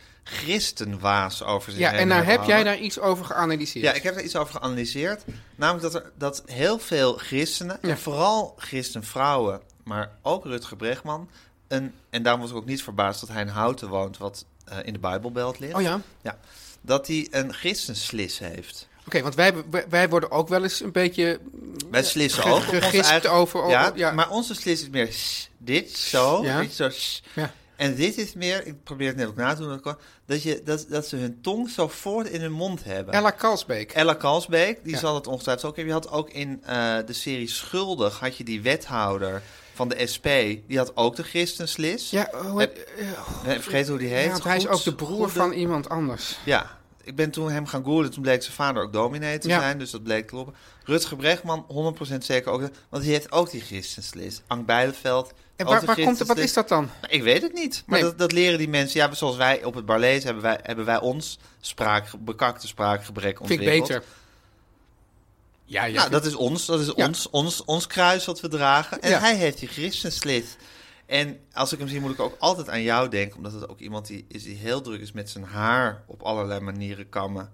Speaker 3: christenwaas over zich
Speaker 4: Ja,
Speaker 3: heen
Speaker 4: en daar
Speaker 3: hebben
Speaker 4: heb jij
Speaker 3: hangen.
Speaker 4: daar iets over geanalyseerd.
Speaker 3: Ja, ik heb daar iets over geanalyseerd. Namelijk dat, er, dat heel veel christenen,
Speaker 4: Ja.
Speaker 3: en vooral christenvrouwen, maar ook Rutger Bregman... Een, en daarom was ik ook niet verbaasd dat hij in Houten woont, wat eh, in de Bijbelbelt ligt.
Speaker 4: Oh ja? Oké,
Speaker 3: Ja, dat hij een christenslis heeft.
Speaker 4: want wij, hebben- wij- wij worden ook wel eens een beetje...
Speaker 3: Wij slissen
Speaker 4: ge-
Speaker 3: ook. op onze
Speaker 4: gegist
Speaker 3: eigen-
Speaker 4: over- over-
Speaker 3: ja,
Speaker 4: ja.
Speaker 3: Maar onze slis is meer s- dit, zo.
Speaker 4: Ja.
Speaker 3: Dit, zo s-
Speaker 4: Ja.
Speaker 3: En dit is meer, ik probeer het net ook na te doen, dat ik kan, dat, je, dat, dat ze hun tong zo voort in hun mond hebben.
Speaker 4: Ella Kalsbeek.
Speaker 3: Ella Kalsbeek, die
Speaker 4: Ja.
Speaker 3: zal het ongetwijfeld ook hebben. Je had ook in eh, de serie Schuldig, had je die wethouder van de SP. Die had ook de christenslis.
Speaker 4: Ja, hoe
Speaker 3: Heb-
Speaker 4: heet- eh,
Speaker 3: Nee, Ik vergeet hoe die heet.
Speaker 4: ja, want hij is
Speaker 3: Goed-
Speaker 4: ook de broer
Speaker 3: Goede-
Speaker 4: van iemand anders.
Speaker 3: Ja, ik ben toen hem gaan googlen. Toen bleek zijn vader ook dominee te
Speaker 4: Ja.
Speaker 3: zijn. Dus dat bleek kloppen. Rutger Bregman, 100% zeker ook. Want die heeft ook die christenslis. Ank Bijleveld.
Speaker 4: En
Speaker 3: ook
Speaker 4: waar,
Speaker 3: de
Speaker 4: waar komt het, wat
Speaker 3: christenslis.
Speaker 4: is dat dan?
Speaker 3: Nou, Ik weet het niet. Maar
Speaker 4: Nee.
Speaker 3: dat, dat leren die mensen. Ja, zoals wij op het Barlees hebben wij, hebben wij ons spraak, bekakte spraakgebrek
Speaker 4: Vind ik
Speaker 3: ontwikkeld.
Speaker 4: beter. Ja, ja.
Speaker 3: Nou, dat is ons. Dat is
Speaker 4: Ja.
Speaker 3: ons, ons, ons kruis wat we dragen. En
Speaker 4: Ja.
Speaker 3: hij heeft die christenslit. En als ik hem zie, moet ik ook altijd aan jou denken. Omdat het ook iemand die is die heel druk is met zijn haar op allerlei manieren kammen.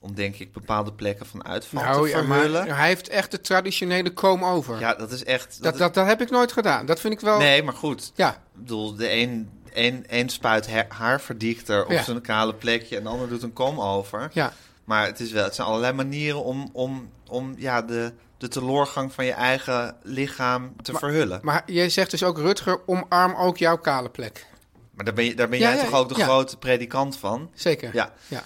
Speaker 3: Om, denk ik, bepaalde plekken van uitval
Speaker 4: nou,
Speaker 3: te
Speaker 4: ja, maar
Speaker 3: verhullen. Ja,
Speaker 4: hij heeft echt de traditionele kom over.
Speaker 3: dat is echt...
Speaker 4: dat, dat, dat heb ik nooit gedaan. Dat vind ik wel...
Speaker 3: Nee, maar goed.
Speaker 4: Ja,
Speaker 3: Ik bedoel, de een, een, een spuit her- haarverdikter op
Speaker 4: Ja.
Speaker 3: zijn kale plekje... en de ander doet een kom over.
Speaker 4: ja.
Speaker 3: Maar het, is wel, het zijn allerlei manieren om, om, om ja, de, de teloorgang van je eigen lichaam te verhullen.
Speaker 4: Maar jij zegt dus ook, Rutger, omarm ook jouw kale plek.
Speaker 3: Maar daar ben, je, daar ben
Speaker 4: Ja,
Speaker 3: jij
Speaker 4: ja,
Speaker 3: toch ook de
Speaker 4: ja.
Speaker 3: grote predikant van?
Speaker 4: Zeker.
Speaker 3: Ja.
Speaker 4: ja.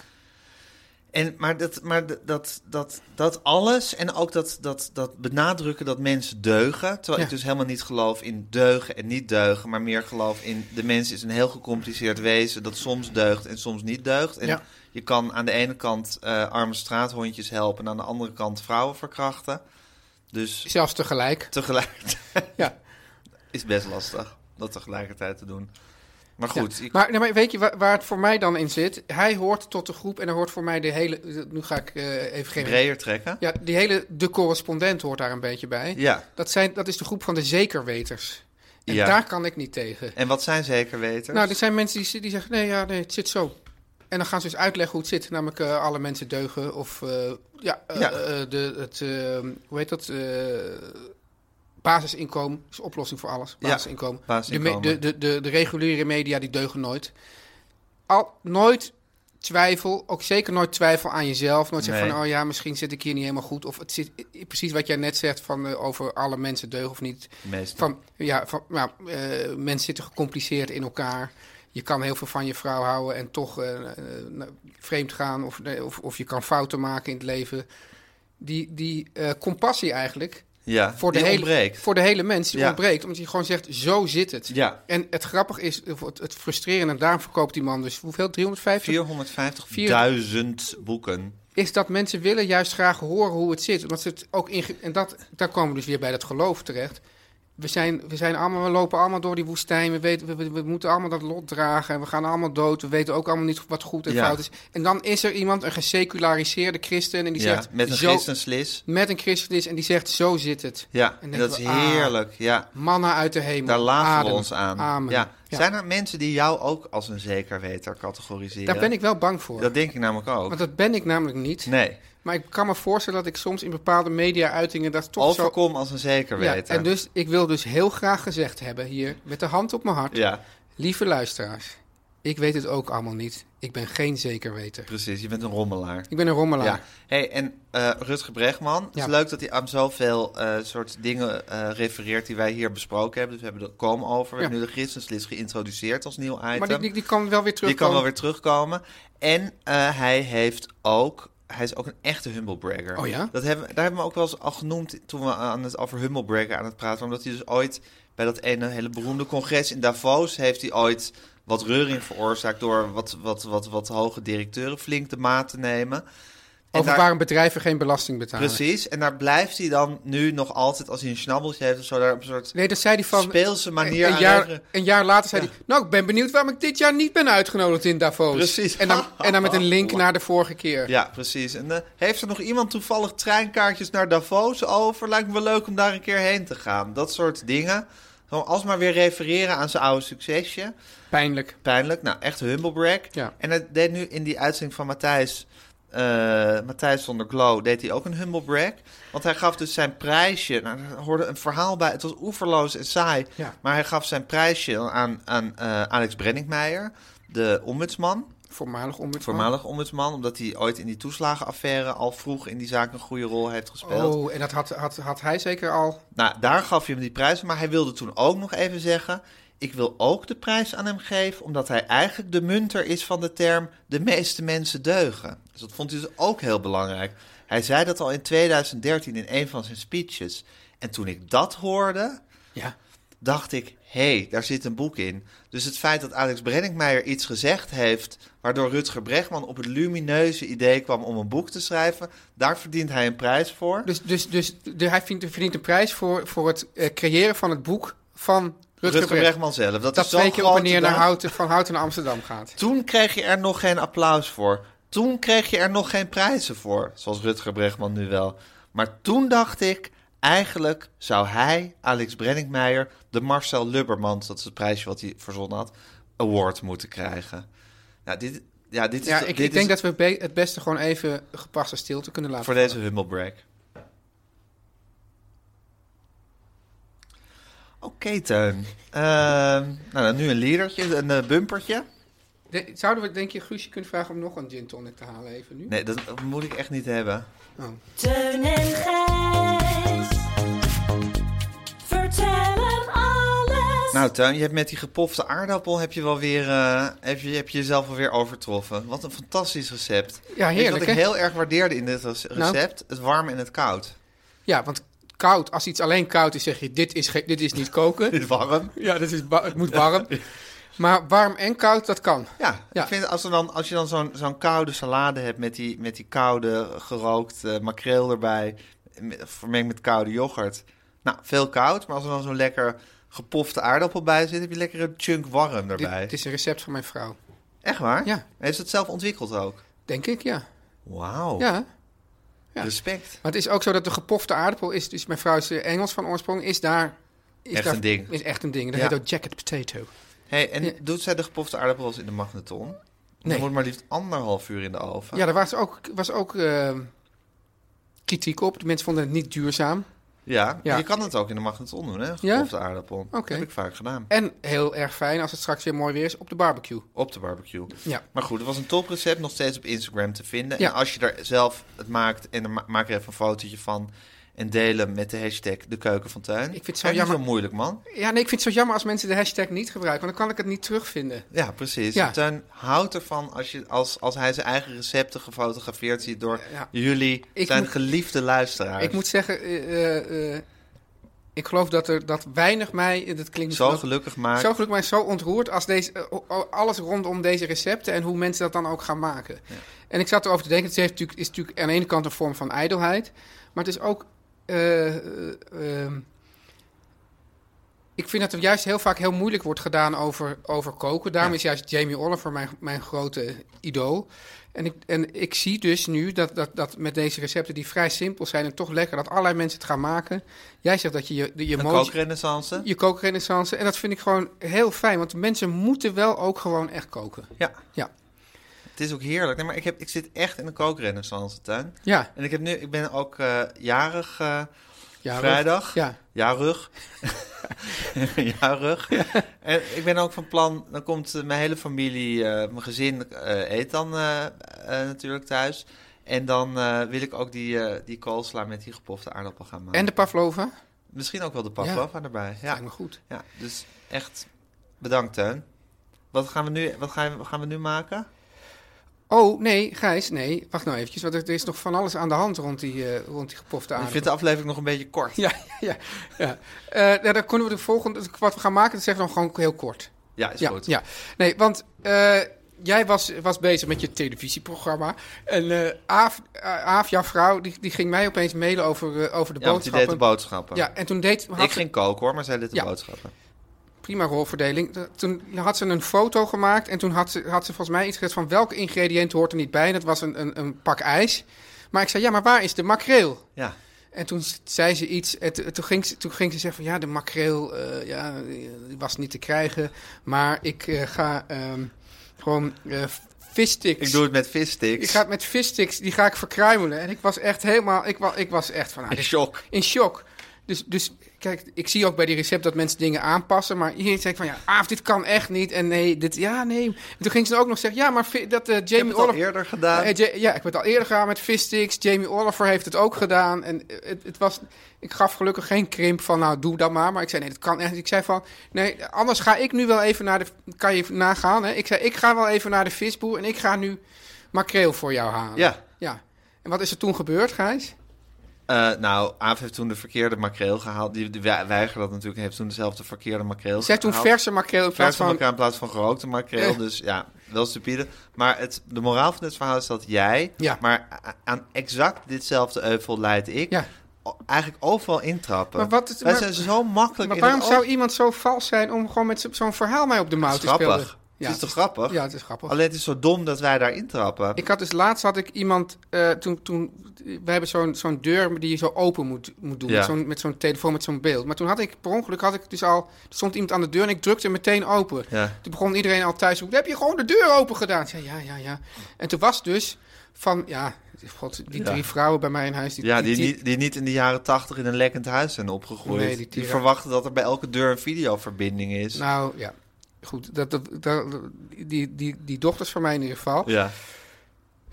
Speaker 3: En, maar dat, maar d- dat, dat, dat alles en ook dat, dat, dat benadrukken dat mensen deugen. Terwijl
Speaker 4: Ja.
Speaker 3: ik dus helemaal niet geloof in deugen en niet deugen. Maar meer geloof in de mens is een heel gecompliceerd wezen dat soms deugt en soms niet deugt. En
Speaker 4: Ja.
Speaker 3: je kan aan de ene kant eh, arme straathondjes helpen en aan de andere kant vrouwen verkrachten. Dus
Speaker 4: Zelfs tegelijk.
Speaker 3: tegelijkertijd
Speaker 4: Ja.
Speaker 3: is best lastig dat tegelijkertijd te doen. Maar goed,
Speaker 4: Ja.
Speaker 3: ik-
Speaker 4: Maar, nee, maar weet je wa- waar, het voor mij dan in zit? Hij hoort tot de groep en hij hoort voor mij de hele... Nu ga ik eh, even geen...
Speaker 3: breder trekken.
Speaker 4: Ja, die hele de correspondent hoort daar een beetje bij.
Speaker 3: Ja.
Speaker 4: Dat, zijn, dat is de groep van de zekerweters. En
Speaker 3: Ja.
Speaker 4: daar kan ik niet tegen.
Speaker 3: En wat zijn zeker weten?
Speaker 4: Nou, er zijn mensen die, die zeggen, nee, ja, nee, het zit zo. En dan gaan ze dus uitleggen hoe het zit. Namelijk, eh, alle mensen deugen. Of, eh, ja, eh,
Speaker 3: Ja.
Speaker 4: eh, de, het, eh, hoe heet dat? Eh, basisinkomen is oplossing voor alles.
Speaker 3: Ja,
Speaker 4: Basisinkomen.
Speaker 3: basisinkomen.
Speaker 4: De, me- de, de, de, de reguliere media, die deugen nooit. Al, nooit twijfel, ook zeker nooit twijfel aan jezelf. Nooit zeggen
Speaker 3: Nee.
Speaker 4: van, oh ja, misschien zit ik hier niet helemaal goed. Of het zit i- i- precies wat jij net zegt van, eh, over alle mensen deugen of niet.
Speaker 3: De meeste.
Speaker 4: Van, ja, van, nou, eh, mensen zitten gecompliceerd in elkaar. Je kan heel veel van je vrouw houden en toch eh, eh, nou, vreemd gaan. Of, nee, of, of je kan fouten maken in het leven. Die, die eh, compassie eigenlijk
Speaker 3: ja,
Speaker 4: voor de,
Speaker 3: die
Speaker 4: hele,
Speaker 3: ontbreekt.
Speaker 4: voor de hele mens die
Speaker 3: Ja.
Speaker 4: ontbreekt. Omdat je gewoon zegt, zo zit het.
Speaker 3: Ja.
Speaker 4: En het grappige is, of het, het frustrerende, en daarom verkoopt die man dus hoeveel? 350?
Speaker 3: 450.000 boeken.
Speaker 4: Is dat mensen willen juist graag horen hoe het zit. Omdat ze het ook inge- en dat, daar komen we dus weer bij dat geloof terecht. We, zijn, we, zijn allemaal, we lopen allemaal door die woestijn. We, weten, we- we, we moeten allemaal dat lot dragen. En we gaan allemaal dood. We weten ook allemaal niet wat goed en
Speaker 3: Ja.
Speaker 4: fout is. En dan is er iemand, een geseculariseerde christen. En die
Speaker 3: Ja,
Speaker 4: zegt,
Speaker 3: met een
Speaker 4: zo,
Speaker 3: christenslis.
Speaker 4: met een christen is. En die zegt, zo zit het.
Speaker 3: Ja,
Speaker 4: En
Speaker 3: en
Speaker 4: denken
Speaker 3: dat
Speaker 4: we,
Speaker 3: is
Speaker 4: ah.
Speaker 3: heerlijk. Ja,
Speaker 4: Mannen uit de hemel.
Speaker 3: daar lagen
Speaker 4: Adem.
Speaker 3: we ons aan.
Speaker 4: Amen.
Speaker 3: Ja, Zijn er mensen die jou ook als een zekerweter categoriseren?
Speaker 4: Daar ben ik wel bang voor.
Speaker 3: Dat denk ik namelijk ook.
Speaker 4: Want Ah, dat ben ik namelijk niet.
Speaker 3: Nee,
Speaker 4: Maar ik kan me voorstellen dat ik soms in bepaalde media-uitingen dat toch zo...
Speaker 3: overkom als een
Speaker 4: Ja,
Speaker 3: zekerweter.
Speaker 4: en dus ik wil dus heel graag gezegd hebben hier, met de hand op mijn hart,
Speaker 3: Ja,
Speaker 4: lieve luisteraars, ik weet het ook allemaal niet. Ik ben geen zekerweter.
Speaker 3: precies. Je bent een rommelaar.
Speaker 4: Ik ben een rommelaar.
Speaker 3: Ja. Hey, en eh Rutger Bregman. Het
Speaker 4: Ja.
Speaker 3: is leuk dat hij aan zoveel eh, soort dingen eh, refereert die wij hier besproken hebben. Dus we hebben de kom over. We hebben nu de gidsenslis geïntroduceerd als nieuw item.
Speaker 4: Maar die, die, die kan wel weer
Speaker 3: Die
Speaker 4: terugkomen.
Speaker 3: kan wel weer terugkomen. En eh, hij heeft ook. Hij is ook een echte humblebreaker.
Speaker 4: Oh ja?
Speaker 3: Dat hebben, daar hebben we ook wel eens al genoemd toen we aan het, over humblebreaker aan het praten waren. Omdat hij dus ooit bij dat ene hele beroemde congres in Davos... heeft hij ooit wat reuring veroorzaakt door wat, wat, wat, wat hoge directeuren flink de maat te nemen. En
Speaker 4: Over
Speaker 3: daar-
Speaker 4: waarom bedrijven geen belasting betalen.
Speaker 3: Precies, en daar blijft hij dan nu nog altijd, als hij een schnabbeltje heeft of zo, daar op een soort
Speaker 4: Nee, dat zei hij van...
Speaker 3: speelse manier
Speaker 4: een,
Speaker 3: aan
Speaker 4: jaar,
Speaker 3: herinneren.
Speaker 4: een jaar later zei hij, nou ik ben benieuwd waarom ik dit jaar niet ben uitgenodigd in Davos.
Speaker 3: Precies. Oh.
Speaker 4: En dan, en dan met een link naar de vorige keer.
Speaker 3: Ja, precies. En eh, heeft er nog iemand toevallig treinkaartjes naar Davos over? Lijkt me wel leuk om daar een keer heen te gaan. Dat soort dingen. Gewoon alsmaar weer refereren aan zijn oude succesje.
Speaker 4: Pijnlijk.
Speaker 3: Pijnlijk. Nou, echt humblebrag.
Speaker 4: Ja.
Speaker 3: En dat deed nu in die uitzending van Matthijs... eh Matthijs zonder Glow deed hij ook een humblebrag. Want hij gaf dus zijn prijsje. Nou, er hoorde een verhaal bij. Het was oeverloos en saai.
Speaker 4: Ja.
Speaker 3: Maar hij gaf zijn prijsje aan, aan eh, Alex Brenningmeijer, de ombudsman.
Speaker 4: Oh. Voormalig ombudsman.
Speaker 3: Voormalig ombudsman, omdat hij ooit in die toeslagenaffaire al vroeg in die zaak een goede rol heeft gespeeld.
Speaker 4: Oh, en dat had, had, had hij zeker al.
Speaker 3: Nou, daar gaf je hem die prijs, maar hij wilde toen ook nog even zeggen: Ik wil ook de prijs aan hem geven, omdat hij eigenlijk de munter is van de term de meeste mensen deugen. Dus dat vond hij dus ook heel belangrijk. Hij zei dat al in 2013 in een van zijn speeches. En toen ik dat hoorde,
Speaker 4: Ja.
Speaker 3: dacht ik, hé, hey, daar zit een boek in. Dus het feit dat Alex Brenningmeijer iets gezegd heeft... waardoor Rutger Bregman op het lumineuze idee kwam om een boek te schrijven... daar verdient hij een prijs voor.
Speaker 4: Dus, dus, dus de, hij verdient, verdient een prijs voor, voor het eh, creëren van het boek van Rutger,
Speaker 3: Rutger,
Speaker 4: Brecht.
Speaker 3: Bregman zelf. Dat,
Speaker 4: Dat
Speaker 3: is zo'n
Speaker 4: twee keer op en
Speaker 3: grote
Speaker 4: neer naar
Speaker 3: daad.
Speaker 4: Houten, van Houten naar Amsterdam gaat.
Speaker 3: Toen kreeg je er nog geen applaus voor. Toen kreeg je er nog geen prijzen voor. Zoals Rutger Bregman nu wel. Maar toen dacht ik, eigenlijk zou hij, Alex Brenningmeijer... de Marcel Lubbermans, dat is het prijsje wat hij verzonnen had... award moeten krijgen. Nou, dit... Ja, dit is
Speaker 4: Ja,
Speaker 3: de-
Speaker 4: ik,
Speaker 3: dit
Speaker 4: ik denk
Speaker 3: is-
Speaker 4: dat we be- het beste gewoon even gepaste stilte kunnen laten.
Speaker 3: Voor deze hummelbreak. Oké, Teun. Ehm, nou, dan nu een liedertje, een eh, bumpertje.
Speaker 4: De- zouden we, denk je, Guusje kunnen vragen om nog een gin tonic te halen even nu?
Speaker 3: Nee, dat moet ik echt niet hebben.
Speaker 5: Teun en Gijs. Vertel hem alles.
Speaker 3: Nou, Teun, je hebt met die gepofte aardappel heb je wel weer, eh, heb je, heb je jezelf alweer overtroffen. Wat een fantastisch recept.
Speaker 4: Ja,
Speaker 3: Weet je Wat
Speaker 4: heerlijk,
Speaker 3: ik
Speaker 4: hè?
Speaker 3: heel erg waardeerde in dit rece-
Speaker 4: Nou?
Speaker 3: recept, het warm en het koud.
Speaker 4: Ja, want koud, als iets alleen koud is, zeg je, dit is, ge- dit is niet koken.
Speaker 3: Dit warm?
Speaker 4: ja, dit is wa- het moet warm. Maar warm en koud, dat kan.
Speaker 3: Ja,
Speaker 4: Ja.
Speaker 3: ik vind als, er dan, als je dan zo'n zo'n koude salade hebt met die, met die koude gerookt eh, makreel erbij, me- vermengd met koude yoghurt. Nou, veel koud, maar als er dan zo'n lekker gepofte aardappel bij zit, heb je lekker een chunk warm
Speaker 4: Dit,
Speaker 3: erbij.
Speaker 4: het is een recept van mijn vrouw.
Speaker 3: Echt waar?
Speaker 4: Ja.
Speaker 3: Heeft ze het zelf ontwikkeld ook?
Speaker 4: Denk ik, ja.
Speaker 3: Wauw,
Speaker 4: Ja. ja.
Speaker 3: respect.
Speaker 4: Maar het is ook zo dat de gepofte aardappel is, dus mijn vrouw is eh, Engels van oorsprong, is daar... Is
Speaker 3: Echt
Speaker 4: daar-
Speaker 3: een ding.
Speaker 4: Is echt een ding. Dat
Speaker 3: Ja.
Speaker 4: heet ook jacket potato.
Speaker 3: hey, en doet zij de gepofte aardappels in de magneton?
Speaker 4: Nee.
Speaker 3: Dan moet maar liefst anderhalf uur in de oven.
Speaker 4: Ja, daar was ook, was ook eh, kritiek op. De mensen vonden het niet duurzaam.
Speaker 3: Ja,
Speaker 4: Ja.
Speaker 3: je kan het ook in de magneton doen, hè? Gepofte aardappel.
Speaker 4: Oké.
Speaker 3: Dat heb ik vaak gedaan.
Speaker 4: En heel erg fijn als het straks weer mooi weer is op de barbecue.
Speaker 3: Op de barbecue.
Speaker 4: Ja.
Speaker 3: Maar goed, het was een toprecept, nog steeds op Instagram te vinden.
Speaker 4: Ja.
Speaker 3: En als je er zelf het maakt en er ma- maak er even een fotootje van... en delen met de hashtag de keuken van tuin.
Speaker 4: vind het zo
Speaker 3: Kijk, niet
Speaker 4: jammer.
Speaker 3: zo moeilijk, man.
Speaker 4: Ja, nee, ik vind het zo jammer als mensen de hashtag niet gebruiken, want dan kan ik het niet terugvinden.
Speaker 3: Ja, precies.
Speaker 4: Ja.
Speaker 3: Tuin houdt ervan als, je, als, als hij zijn eigen recepten gefotografeerd ziet... door
Speaker 4: Ja.
Speaker 3: jullie,
Speaker 4: Ik
Speaker 3: zijn
Speaker 4: moet-
Speaker 3: geliefde luisteraars.
Speaker 4: Ik moet zeggen, eh, eh, eh, ik geloof dat er dat weinig mij, en dat klinkt
Speaker 3: zo
Speaker 4: dat-
Speaker 3: gelukkig maken.
Speaker 4: zo gelukkig mij zo ontroerd als deze, eh, o- o- alles rondom deze recepten en hoe mensen dat dan ook gaan maken. En ik zat erover te denken, het heeft natuurlijk, is natuurlijk aan de ene kant een vorm van ijdelheid, maar het is ook eh, eh, ehm, Ik vind dat er juist heel vaak heel moeilijk wordt gedaan over, over koken. Daarom is juist Jamie Oliver mijn, mijn grote idool. En ik, en ik zie dus nu dat, dat, dat met deze recepten die vrij simpel zijn en toch lekker, dat allerlei mensen het gaan maken. Jij zegt dat je je, je
Speaker 1: Een
Speaker 4: mojo-
Speaker 1: kookrenaissance.
Speaker 4: je kookrenaissance. En dat vind ik gewoon heel fijn, want mensen moeten wel ook gewoon echt koken.
Speaker 1: Ja.
Speaker 4: Ja.
Speaker 1: Het is ook heerlijk. Nee, maar ik, heb, ik zit echt in een kookrenaissance tuin.
Speaker 4: Ja,
Speaker 1: En ik, heb nu, ik ben ook eh, jarig eh,
Speaker 4: ja
Speaker 1: vrijdag.
Speaker 4: Ja,
Speaker 1: Jarig. Jarig. En ik ben ook van plan, dan komt eh, mijn hele familie, eh, mijn gezin eh, eet dan eh, eh, natuurlijk thuis. En dan eh, wil ik ook die, eh die koolsla met die gepofte aardappel gaan maken.
Speaker 4: en de pavlova.
Speaker 1: Misschien ook wel de pavlova erbij. Ja.
Speaker 4: Lijkt me goed.
Speaker 1: ja, dus echt bedankt Teun. Wat gaan we nu, wat gaan, we- gaan we nu maken?
Speaker 4: Oh, nee, Gijs, nee. Wacht nou eventjes, want er is nog van alles aan de hand rond die, eh, rond die gepofte
Speaker 1: Ik
Speaker 4: aardappel.
Speaker 1: vind de aflevering nog een beetje kort.
Speaker 4: Ja, ja, ja. Eh nou, dan kunnen we de volgende, wat we gaan maken, dat zeggen we dan gewoon heel kort.
Speaker 1: Ja, is
Speaker 4: ja,
Speaker 1: goed.
Speaker 4: ja. Nee, want eh, jij was, was bezig met je televisieprogramma. En eh, Aaf, eh, Aaf, jouw vrouw, die, die ging mij opeens mailen over, eh, over de
Speaker 1: Ja, want die deed de
Speaker 4: boodschappen.
Speaker 1: boodschappen.
Speaker 4: ja, en toen deed... had
Speaker 1: ik
Speaker 4: ze-
Speaker 1: ging koken hoor, maar zij deed de
Speaker 4: Ja.
Speaker 1: boodschappen.
Speaker 4: prima rolverdeling. De- Toen had ze een foto gemaakt en toen had ze, had ze volgens mij iets gezegd van welk ingrediënt hoort er niet bij. En dat was een, een, een pak ijs. Maar ik zei, ja, maar waar is de makreel?
Speaker 1: Ja.
Speaker 4: En toen s- zei ze iets, en t- toen, ging ze, toen ging ze zeggen van ja, de makreel eh, ja, die was niet te krijgen. Maar ik eh, ga ehm, gewoon eh vissticks...
Speaker 1: Ik doe het met vissticks.
Speaker 4: Ik ga het met vissticks, die ga ik verkruimelen. En ik was echt helemaal, ik, wa, ik was echt van... nou,
Speaker 1: In
Speaker 4: dit-
Speaker 1: shock.
Speaker 4: in shock. Dus, dus kijk, ik zie ook bij die recept dat mensen dingen aanpassen. Maar hier zei ik van, ja, Aaf, dit kan echt niet. En nee, dit, ja, nee. En toen ging ze ook nog zeggen, ja, maar vi- dat eh,
Speaker 1: Ik heb
Speaker 4: Jamie
Speaker 1: het al
Speaker 4: Oliver...
Speaker 1: eerder gedaan.
Speaker 4: Eh, Ja, ja, ik heb het al eerder gedaan met vissticks. Jamie Oliver heeft het ook gedaan. En eh, het, het was, ik gaf gelukkig geen krimp van, nou, doe dat maar. Maar ik zei, nee, dat kan echt niet. Ik zei van, nee, anders ga ik nu wel even naar de... Kan je even nagaan, hè? Ik zei, ik ga wel even naar de visboer en ik ga nu makreel voor jou halen.
Speaker 1: Ja.
Speaker 4: Ja. En wat is er toen gebeurd, Gijs?
Speaker 1: Eh, nou, Aaf heeft toen de verkeerde makreel gehaald. Die, die we- weiger dat natuurlijk. Heeft toen dezelfde verkeerde makreel
Speaker 4: Zij toen
Speaker 1: gehaald.
Speaker 4: verse makreel in plaats
Speaker 1: Verse
Speaker 4: van...
Speaker 1: makreel in plaats van gerookte makreel.
Speaker 4: Eh.
Speaker 1: Dus ja, wel stupide. Maar het, de moraal van dit verhaal is dat jij...
Speaker 4: Ja.
Speaker 1: Maar a- aan exact ditzelfde euvel leid ik...
Speaker 4: Ja.
Speaker 1: o- eigenlijk overal intrappen.
Speaker 4: Maar wat het-
Speaker 1: Wij
Speaker 4: maar-
Speaker 1: zijn zo makkelijk
Speaker 4: Maar
Speaker 1: in
Speaker 4: waarom
Speaker 1: het
Speaker 4: zou
Speaker 1: oog-
Speaker 4: iemand zo vals zijn om gewoon met zo- zo'n verhaal mij op de mouw
Speaker 1: Het
Speaker 4: te
Speaker 1: is
Speaker 4: spelen?
Speaker 1: grappig. het is toch grappig?
Speaker 4: Ja, het is grappig.
Speaker 1: Alleen het is zo dom dat wij daar intrappen.
Speaker 4: Ik had dus laatst had ik iemand, eh, toen, toen, we hebben zo'n zo'n deur die je zo open moet, moet doen,
Speaker 1: Ja.
Speaker 4: met zo'n met zo'n telefoon, met zo'n beeld. Maar toen had ik, per ongeluk had ik dus al, er stond iemand aan de deur en ik drukte hem meteen open.
Speaker 1: Ja.
Speaker 4: Toen begon iedereen al thuis, heb je gewoon de deur open gedaan? Ik zei, ja, ja, ja. En toen was dus van, ja, god, die
Speaker 1: Ja.
Speaker 4: drie vrouwen bij mij in huis. Die,
Speaker 1: Ja, die, niet, die niet in de jaren tachtig in een lekkend huis zijn opgegroeid.
Speaker 4: Nee, die
Speaker 1: die,
Speaker 4: tieren.
Speaker 1: verwachten dat er bij elke deur een videoverbinding is.
Speaker 4: Nou, ja. Goed, dat, dat, dat- die, die, die dochters van mij in ieder geval.
Speaker 1: ja.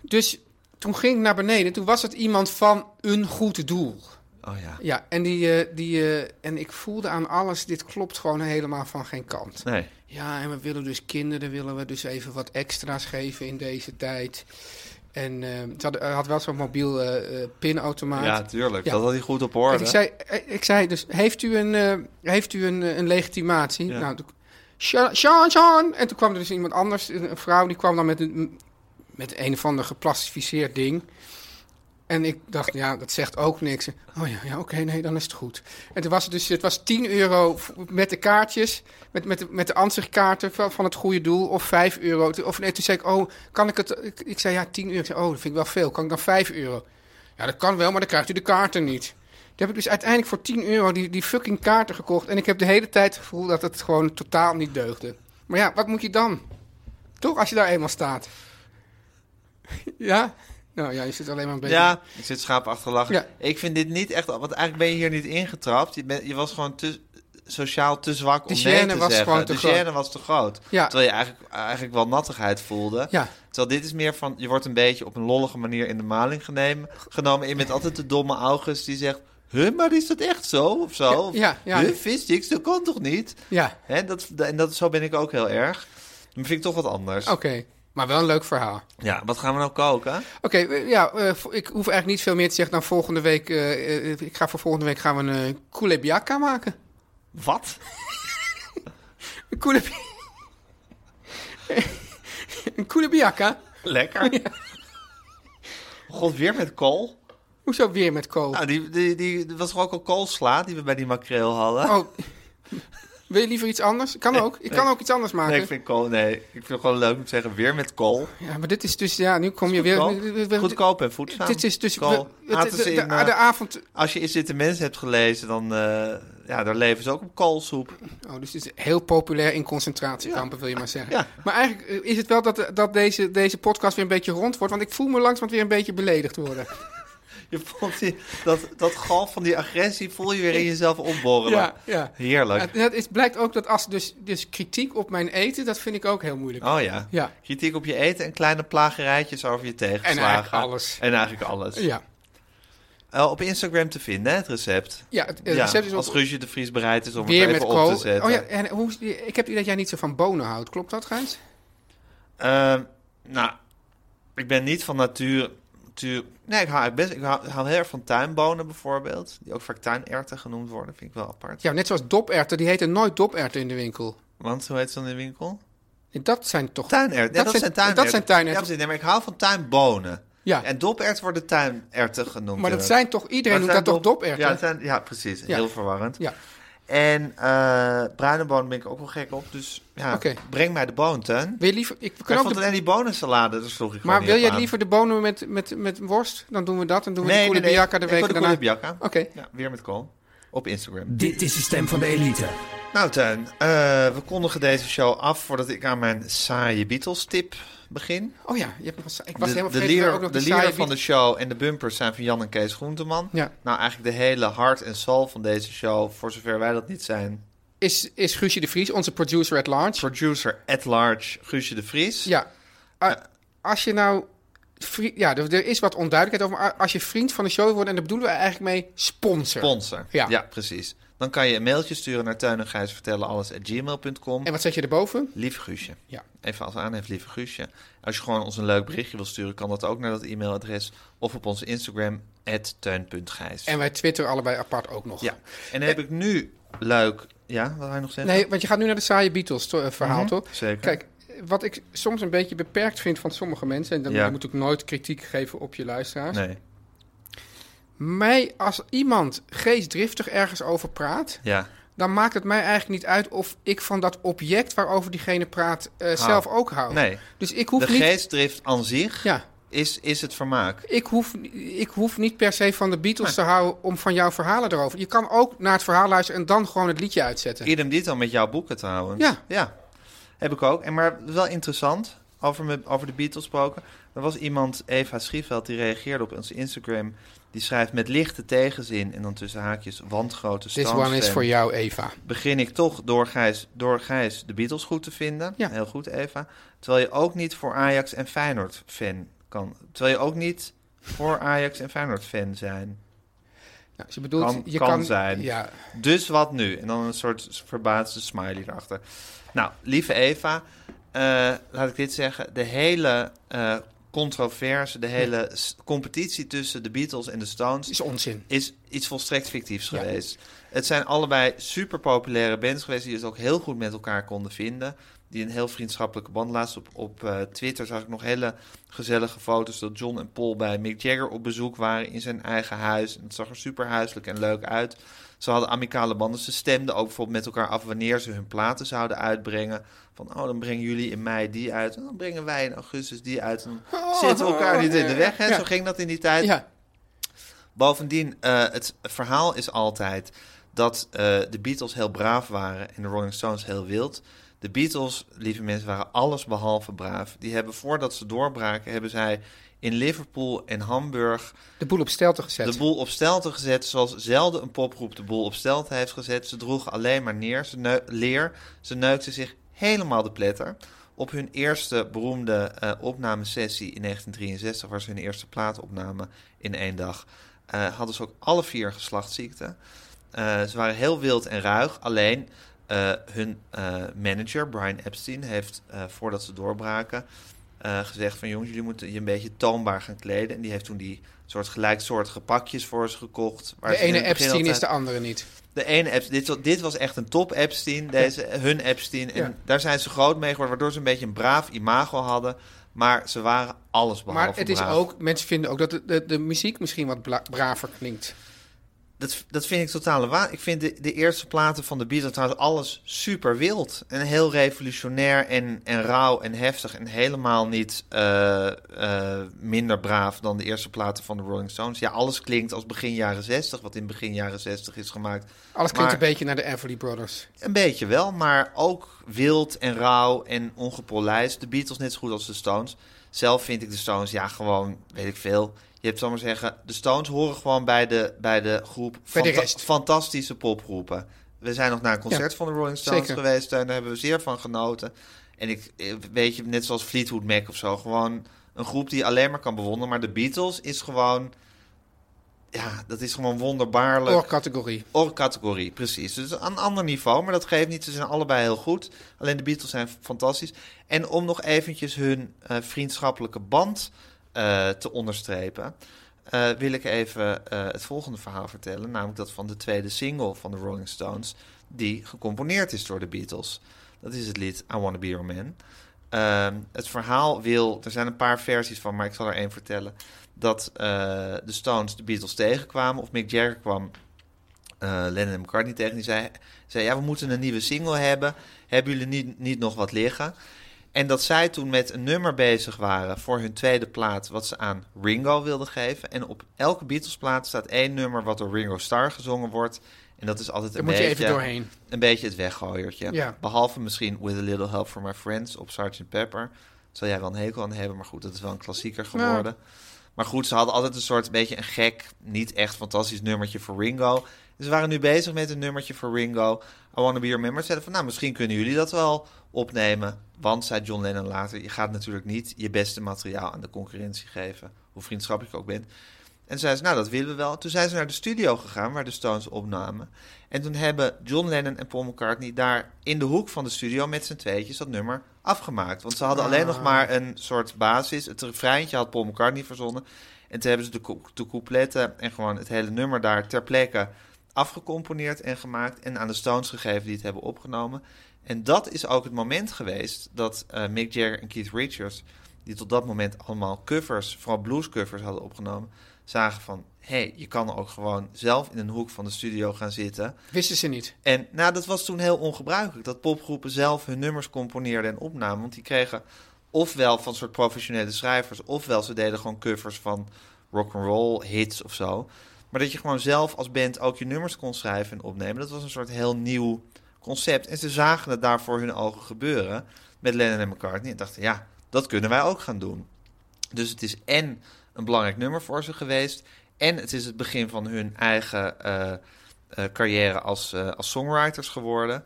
Speaker 4: Dus toen ging ik naar beneden. Toen was het iemand van een goed doel.
Speaker 1: Oh ja.
Speaker 4: Ja, en, die, eh, die, eh, en ik voelde aan alles, dit klopt gewoon helemaal van geen kant.
Speaker 1: Nee.
Speaker 4: Ja, en we willen dus kinderen, willen we dus even wat extra's geven in deze tijd. En eh, ze had, had wel zo'n mobiel eh, eh, pinautomaat.
Speaker 1: Ja, tuurlijk.
Speaker 4: Ja.
Speaker 1: Dat had hij goed op
Speaker 4: En
Speaker 1: orde.
Speaker 4: ik zei, eh, ik zei dus, heeft u een, eh, heeft u een, eh, een legitimatie?
Speaker 1: Ja.
Speaker 4: Nou, toen, Sja- Sjaan, Sjaan. En toen kwam er dus iemand anders, een een vrouw, die kwam dan met een, met een of ander geplastificeerd ding. En ik dacht, ja, dat zegt ook niks. Oh ja, ja oké, nee, dan is het goed. En toen was het dus, het was 10 euro v- met de kaartjes, met, met, de, met de ansichtkaarten van, van het goede doel, of 5 euro. Toen- Of nee, toen zei ik, oh, kan ik het, ik, ik zei ja, 10 euro. Ik zei, oh, dat vind ik wel veel, kan ik dan 5 euro? Ja, dat kan wel, maar dan krijgt u de kaarten niet. Toen heb ik dus uiteindelijk voor 10 euro die, die fucking kaarten gekocht. En ik heb de hele tijd het gevoel dat het gewoon totaal niet deugde. Maar ja, wat moet je dan? Toch, als je daar eenmaal staat. ja? Nou ja, je zit alleen maar een beetje...
Speaker 1: Ja, ik zit schaap achter lachen.
Speaker 4: Ja.
Speaker 1: Ik vind dit niet echt... Want eigenlijk ben je hier niet ingetrapt. Je, bent- je was gewoon te, sociaal te zwak
Speaker 4: De
Speaker 1: om nee
Speaker 4: gêne
Speaker 1: te
Speaker 4: was
Speaker 1: zeggen.
Speaker 4: gewoon te
Speaker 1: de
Speaker 4: groot.
Speaker 1: gêne was te groot.
Speaker 4: Ja.
Speaker 1: Terwijl je eigenlijk, eigenlijk wel nattigheid voelde.
Speaker 4: Ja.
Speaker 1: Terwijl dit is meer van... Je wordt een beetje op een lollige manier in de maling genemen, genomen. En je bent altijd de domme August die zegt... Huh, maar is dat echt zo? Of zo?
Speaker 4: Ja,
Speaker 1: Of,
Speaker 4: ja, ja.
Speaker 1: Huh, vissticks? Dat kan toch niet?
Speaker 4: Ja,
Speaker 1: Hè, dat, en dat, zo ben ik ook heel erg. Dan vind ik toch wat anders.
Speaker 4: oké. Maar wel een leuk verhaal.
Speaker 1: Ja, wat gaan we nou koken?
Speaker 4: Oké, eh, ja, eh, vo- ik hoef eigenlijk niet veel meer te zeggen dan volgende week. eh, eh, ik ga voor volgende week gaan we een uh, kulebiaka maken.
Speaker 1: Wat?
Speaker 4: Een kulebi... een kulebiaka?
Speaker 1: Lekker. God, weer met kool?
Speaker 4: Hoezo weer met kool?
Speaker 1: Nou, die, die, die, er was toch ook al koolsla die we bij die makreel hadden?
Speaker 4: Oh. Wil je liever iets anders? Kan ook. Ik kan ook iets anders maken.
Speaker 1: Nee, ik vind kool. Nee, ik vind het gewoon leuk om te zeggen weer met kool.
Speaker 4: Ja, maar dit is dus... Ja, nu kom je weer... we- we-
Speaker 1: Goedkoop, Goedkoop en voedzaam.
Speaker 4: Dit is dus...
Speaker 1: kool.
Speaker 4: we- het-
Speaker 1: Laten
Speaker 4: de,
Speaker 1: ze
Speaker 4: de-
Speaker 1: in, eh,
Speaker 4: de avond...
Speaker 1: Als je Is dit de Mens hebt gelezen, dan eh, ja, daar leven ze ook op koolsoep.
Speaker 4: Oh, dus het is heel populair in concentratiekampen, wil je maar zeggen.
Speaker 1: Ja.
Speaker 4: Maar eigenlijk eh, is het wel dat, dat deze, deze podcast weer een beetje rond wordt. Want ik voel me langzamerhand weer een beetje beledigd worden.
Speaker 1: Je voelt die, dat, dat galf van die agressie voel je weer in jezelf opborrelen.
Speaker 4: Ja, ja.
Speaker 1: Heerlijk.
Speaker 4: En het is, blijkt ook dat als dus, dus kritiek op mijn eten, dat vind ik ook heel moeilijk.
Speaker 1: Oh ja.
Speaker 4: Ja.
Speaker 1: Kritiek op je eten en kleine plagerijtjes over je tegenslagen.
Speaker 4: En eigenlijk alles.
Speaker 1: En eigenlijk alles.
Speaker 4: Ja,
Speaker 1: Eh, op Instagram te vinden, hè, het recept.
Speaker 4: ja het, eh,
Speaker 1: ja,
Speaker 4: recept is op-
Speaker 1: als Guusje de Vries bereid is om
Speaker 4: weer
Speaker 1: het
Speaker 4: met
Speaker 1: even
Speaker 4: kool.
Speaker 1: op te zetten.
Speaker 4: Oh ja, en hoe, is die- ik heb het idee dat jij niet zo van bonen houdt. Klopt dat, Gijs?
Speaker 1: Ehm, nou, ik ben niet van natuur... natuur nee, ik hou, eigenlijk best, ik hou, ik hou heel erg van tuinbonen bijvoorbeeld. Die ook vaak tuinerten genoemd worden. Vind ik wel apart.
Speaker 4: Ja, net zoals doperwten. Die heten nooit doperwten in de winkel.
Speaker 1: Want hoe heet ze dan in de winkel?
Speaker 4: Dat zijn toch...
Speaker 1: Tuinerwten. Nee, dat, zijn tuinerwten.
Speaker 4: Dat zijn tuinerwten.
Speaker 1: Ja, precies. Nee, maar ik hou van tuinbonen.
Speaker 4: Ja.
Speaker 1: En doperwten worden tuinerten genoemd.
Speaker 4: maar dat
Speaker 1: inderdaad.
Speaker 4: zijn toch... Iedereen
Speaker 1: Maar
Speaker 4: noemt dat toch
Speaker 1: het zijn dop-
Speaker 4: doperwten?
Speaker 1: Ja, het zijn, ja precies.
Speaker 4: Ja.
Speaker 1: Heel verwarrend.
Speaker 4: Ja.
Speaker 1: En eh bruine bonen ben ik ook wel gek op. Dus ja,
Speaker 4: Oké.
Speaker 1: breng mij de boon, Teun.
Speaker 4: Wil je liever... Ik
Speaker 1: Maar
Speaker 4: kan
Speaker 1: ik
Speaker 4: ook
Speaker 1: vond
Speaker 4: de-
Speaker 1: alleen die bonensalade, daar sloeg ik
Speaker 4: maar
Speaker 1: gewoon
Speaker 4: wil
Speaker 1: niet op
Speaker 4: jij
Speaker 1: aan.
Speaker 4: liever de bonen met, met, met worst? Dan doen we dat. Dan doen we
Speaker 1: Nee,
Speaker 4: de
Speaker 1: nee, nee.
Speaker 4: koelebiaka
Speaker 1: Ik
Speaker 4: de
Speaker 1: wil
Speaker 4: week daarna.
Speaker 1: koelebiaka.
Speaker 4: Oké.
Speaker 1: Ja, weer met kool. Op Instagram.
Speaker 3: Dit is de stem van de elite.
Speaker 1: Nou, Teun. eh, we kondigen deze show af voordat ik aan mijn saaie Beatles-tip begin.
Speaker 4: Oh ja, je hebt nog, een- ik was
Speaker 1: de,
Speaker 4: helemaal
Speaker 1: de
Speaker 4: vergeten
Speaker 1: leader-
Speaker 4: daar ook nog
Speaker 1: de
Speaker 4: die
Speaker 1: leader
Speaker 4: saaie
Speaker 1: van de
Speaker 4: biet-
Speaker 1: show en de bumpers zijn van Jan en Kees Groenteman.
Speaker 4: Ja.
Speaker 1: Nou, eigenlijk de hele hart en zal van deze show, voor zover wij dat niet zijn,
Speaker 4: Is, is Guusje de Vries, onze producer at large.
Speaker 1: producer at large Guusje de Vries.
Speaker 4: Ja. Ah, als je nou... vri- Ja, er, er is wat onduidelijkheid over. Maar als je vriend van de show wordt... en daar bedoelen we eigenlijk mee sponsor.
Speaker 1: Sponsor.
Speaker 4: Ja.
Speaker 1: Ja. precies. Dan kan je een mailtje sturen naar Teun en Gijs vertellen alles at gmail.com.
Speaker 4: En wat zet je erboven?
Speaker 1: Lieve Guusje.
Speaker 4: Ja.
Speaker 1: Even als aanhef, lieve Guusje. Als je gewoon ons een leuk berichtje wil sturen, kan dat ook naar dat e-mailadres of op onze Instagram, teun.gijs.
Speaker 4: En wij Twitter allebei apart ook nog.
Speaker 1: Dus Ja. En dan heb ik nu leuk. Ja, wat ga je nog zeggen?
Speaker 4: Nee, want je gaat nu naar de saaie Beatles to- eh, verhaal, toch?
Speaker 1: Mhm. zeker.
Speaker 4: Kijk, wat ik soms een beetje beperkt vind van sommige mensen... en dan
Speaker 1: Ja.
Speaker 4: je moet ook nooit kritiek geven op je luisteraars.
Speaker 1: Nee.
Speaker 4: Mij, als iemand geestdriftig ergens over praat...
Speaker 1: Ja.
Speaker 4: dan maakt het mij eigenlijk niet uit of ik van dat object... waarover diegene praat
Speaker 1: Ah.
Speaker 4: eh, zelf ook hou.
Speaker 1: Nee.
Speaker 4: Dus ik hoef
Speaker 1: De
Speaker 4: niet...
Speaker 1: geestdrift aan zich
Speaker 4: Ja,
Speaker 1: is, is het vermaak.
Speaker 4: ik hoef, ik hoef niet per se van de Beatles te houden... om van jouw verhalen erover... Je kan ook naar het verhaal luisteren en dan gewoon het liedje uitzetten.
Speaker 1: Idem dit dan met jouw boeken trouwens.
Speaker 4: Ja.
Speaker 1: Ja, heb ik ook. En maar wel interessant, over, me, over de Beatles gesproken. Er was iemand, Eva Schieveld, die reageerde op ons Instagram. Die schrijft met lichte tegenzin en dan tussen haakjes wandgrote
Speaker 4: This
Speaker 1: Stones
Speaker 4: one is
Speaker 1: fan.
Speaker 4: voor jou, Eva.
Speaker 1: Begin ik toch door Gijs, door Gijs de Beatles goed te vinden.
Speaker 4: Ja.
Speaker 1: Heel goed, Eva. Terwijl je ook niet voor Ajax en Feyenoord fan kan. Terwijl je ook niet voor Ajax en Feyenoord fan zijn.
Speaker 4: Nou, ze bedoelt,
Speaker 1: Kan-
Speaker 4: je
Speaker 1: kan
Speaker 4: kan,
Speaker 1: zijn.
Speaker 4: Ja,
Speaker 1: Dus wat nu? En dan een soort verbaasde smiley erachter. Nou, lieve Eva, eh, laat ik dit zeggen. De hele eh, controverse, de hele s- competitie tussen de Beatles en de Stones
Speaker 4: is onzin.
Speaker 1: is iets volstrekt fictiefs
Speaker 4: Ja.
Speaker 1: geweest. Het zijn allebei super populaire bands geweest die het ook heel goed met elkaar konden vinden. Die een heel vriendschappelijke band. Laatst op, op eh, Twitter zag ik nog hele gezellige foto's dat John en Paul bij Mick Jagger op bezoek waren in zijn eigen huis. En het zag er super huiselijk en leuk uit. Ze hadden amicale banden. Ze stemden ook bijvoorbeeld met elkaar af wanneer ze hun platen zouden uitbrengen. Van, oh, dan brengen jullie in mei die uit. En dan brengen wij in augustus die uit. En dan zitten we elkaar niet in de weg. Hè?
Speaker 4: Oh, Ja.
Speaker 1: Zo ging dat in die tijd.
Speaker 4: Ja,
Speaker 1: Bovendien, eh, het verhaal is altijd dat eh, de Beatles heel braaf waren en de Rolling Stones heel wild. De Beatles, lieve mensen, waren alles behalve braaf. Die hebben voordat ze doorbraken, hebben zij in Liverpool en Hamburg
Speaker 4: de boel op stelte gezet.
Speaker 1: de boel op stelte gezet, zoals zelden een popgroep de boel op stelte heeft gezet. Ze droegen alleen maar neer, ze neu- leer, ze neukten zich helemaal de pletter. Op hun eerste beroemde eh, opnamesessie in 1963, waar ze hun eerste plaat opnamen in één dag, eh, hadden ze ook alle vier geslachtsziekten. Eh, ze waren heel wild en ruig, alleen eh, hun eh, manager, Brian Epstein, heeft eh, voordat ze doorbraken eh, gezegd van jongens, jullie moeten je een beetje toonbaar gaan kleden. En die heeft toen die soort gelijksoortige pakjes voor ze gekocht. waar
Speaker 4: de
Speaker 1: ze in
Speaker 4: ene
Speaker 1: het begin
Speaker 4: Epstein is de
Speaker 1: altijd-
Speaker 4: andere niet.
Speaker 1: de ene Epstein, dit, was- dit was echt een top Epstein, deze, hun Epstein. En
Speaker 4: Ja.
Speaker 1: daar zijn ze groot mee geworden, waardoor ze een beetje een braaf imago hadden. Maar ze waren alles behalve
Speaker 4: Maar het is
Speaker 1: braaf.
Speaker 4: ook, mensen vinden ook dat de, de, de muziek misschien wat bla- braver klinkt.
Speaker 3: dat, dat vind ik totale waan. Ik vind de, de eerste platen van de Beatles trouwens alles super wild. En heel revolutionair en, en rauw en heftig. En helemaal niet eh, eh, minder braaf dan de eerste platen van de Rolling Stones. Ja, alles klinkt als begin jaren 60, wat in begin jaren 60 is gemaakt.
Speaker 4: Alles
Speaker 3: Maar-
Speaker 4: klinkt een beetje naar de Everly Brothers.
Speaker 3: Een beetje wel, maar ook wild en rauw en ongepolijst. De Beatles net zo goed als de Stones. Zelf vind ik de Stones, ja, gewoon, weet ik veel. Je hebt, zal ik maar zeggen, de Stones horen gewoon bij de, bij de groep
Speaker 4: Bij de
Speaker 3: fanta-
Speaker 4: rest.
Speaker 3: fantastische popgroepen. We zijn nog naar een concert van de Rolling Stones
Speaker 4: zeker.
Speaker 3: geweest en daar hebben we zeer van genoten. En ik, eh, weet je, net zoals Fleetwood Mac of zo, gewoon een groep die je alleen maar kan bewonderen. Maar de Beatles is gewoon, ja, dat is gewoon wonderbaarlijk.
Speaker 4: Oor categorie.
Speaker 3: Or-categorie, precies. Dus aan een ander niveau, maar dat geeft niet. Ze zijn allebei heel goed. Alleen de Beatles zijn fantastisch. En om nog eventjes hun eh, vriendschappelijke band eh, te onderstrepen... eh, wil ik even eh, het volgende verhaal vertellen. Namelijk dat van de tweede single van de Rolling Stones... die gecomponeerd is door de Beatles. Dat is het lied I Wanna Be Your Man. Ehm, het verhaal wil... Er zijn een paar versies van, maar ik zal er één vertellen... dat eh, de Stones de Beatles tegenkwamen... of Mick Jagger kwam eh, Lennon en McCartney tegen. Die zei, zei, ja, we moeten een nieuwe single hebben. Hebben jullie niet, niet nog wat liggen? En dat zij toen met een nummer bezig waren voor hun tweede plaat... wat ze aan Ringo wilden geven. En op elke Beatles-plaat staat één nummer wat door Ringo Starr gezongen wordt. En dat is altijd
Speaker 4: Daar
Speaker 3: een
Speaker 4: moet je
Speaker 3: beetje...
Speaker 4: even doorheen.
Speaker 3: Een beetje het weggooiertje.
Speaker 4: Ja.
Speaker 3: Behalve misschien With a Little Help from My Friends op Sgt. Pepper. Zal jij wel een hekel aan hebben, maar goed, dat is wel een klassieker geworden. Maar goed, ze hadden altijd een soort beetje een gek, niet echt fantastisch nummertje voor Ringo. En ze waren nu bezig met een nummertje voor Ringo. I Wanna Be Your Man. Maar ze zeiden van, nou, misschien kunnen jullie dat wel opnemen. Want, zei John Lennon later, je gaat natuurlijk niet je beste materiaal aan de concurrentie geven. Hoe vriendschappelijk je ook bent. En toen zei ze, nou, dat willen we wel. Toen zijn ze naar de studio gegaan, waar de Stones opnamen. En toen hebben John Lennon en Paul McCartney daar in de hoek van de studio met z'n tweetjes dat nummer afgemaakt. Want ze hadden alleen nog maar een soort basis. Het refreintje had Paul McCartney verzonnen. En toen hebben ze de, cou- de coupletten en gewoon het hele nummer daar ter plekke afgecomponeerd en gemaakt. En aan de Stones gegeven die het hebben opgenomen. En dat is ook het moment geweest dat eh, Mick Jagger en Keith Richards, die tot dat moment allemaal covers, vooral bluescovers hadden opgenomen, zagen van, hé, hey, je kan ook gewoon zelf in een hoek van de studio gaan zitten.
Speaker 4: Wisten ze niet.
Speaker 3: En nou, dat was toen heel ongebruikelijk. Dat popgroepen zelf hun nummers componeerden en opnamen. Want die kregen ofwel van soort professionele schrijvers... ofwel ze deden gewoon covers van rock'n'roll hits of zo. Maar dat je gewoon zelf als band ook je nummers kon schrijven en opnemen... dat was een soort heel nieuw concept. En ze zagen het daar voor hun ogen gebeuren met Lennon en McCartney. En dachten, ja, dat kunnen wij ook gaan doen. Dus het is en een belangrijk nummer voor ze geweest... en het is het begin van hun eigen... eh, eh, carrière als, eh, als songwriters geworden.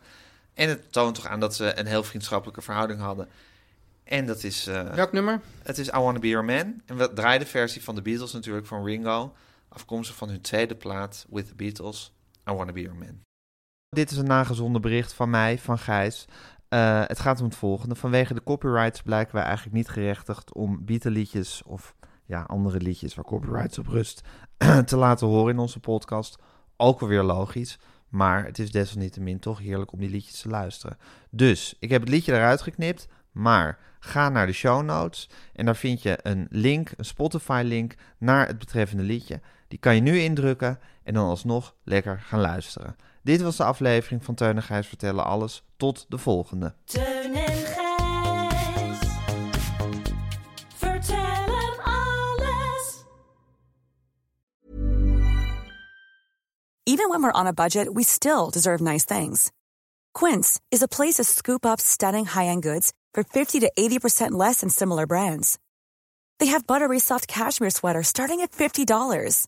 Speaker 3: En het toont toch aan dat ze een heel vriendschappelijke verhouding hadden. En dat is, eh,
Speaker 4: Welk nummer?
Speaker 3: het is I Wanna Be Your Man. En we draaien de versie van de Beatles natuurlijk van Ringo. Afkomstig van hun tweede plaat, With the Beatles, I Wanna Be Your Man. Dit is een nagezonden bericht van mij, van Gijs. Eh, het gaat om het volgende. Vanwege de copyrights blijken wij eigenlijk niet gerechtigd om Beatle-liedjes of ja, andere liedjes waar copyrights op rust te laten horen in onze podcast. Ook alweer logisch, maar het is desalniettemin toch heerlijk om die liedjes te luisteren. Dus, ik heb het liedje eruit geknipt, maar ga naar de show notes en daar vind je een link, een Spotify-link naar het betreffende liedje. Die kan je nu indrukken en dan alsnog lekker gaan luisteren. Dit was de aflevering van Teun en Gijs Vertellen Alles. Tot de volgende.
Speaker 7: Teun en Gijs. Vertel hem alles.
Speaker 5: Even when we're on a budget, we still deserve nice things. Quince is a place to scoop up stunning high-end goods for 50 to 80% less than similar brands. They have buttery soft cashmere sweaters starting at $50,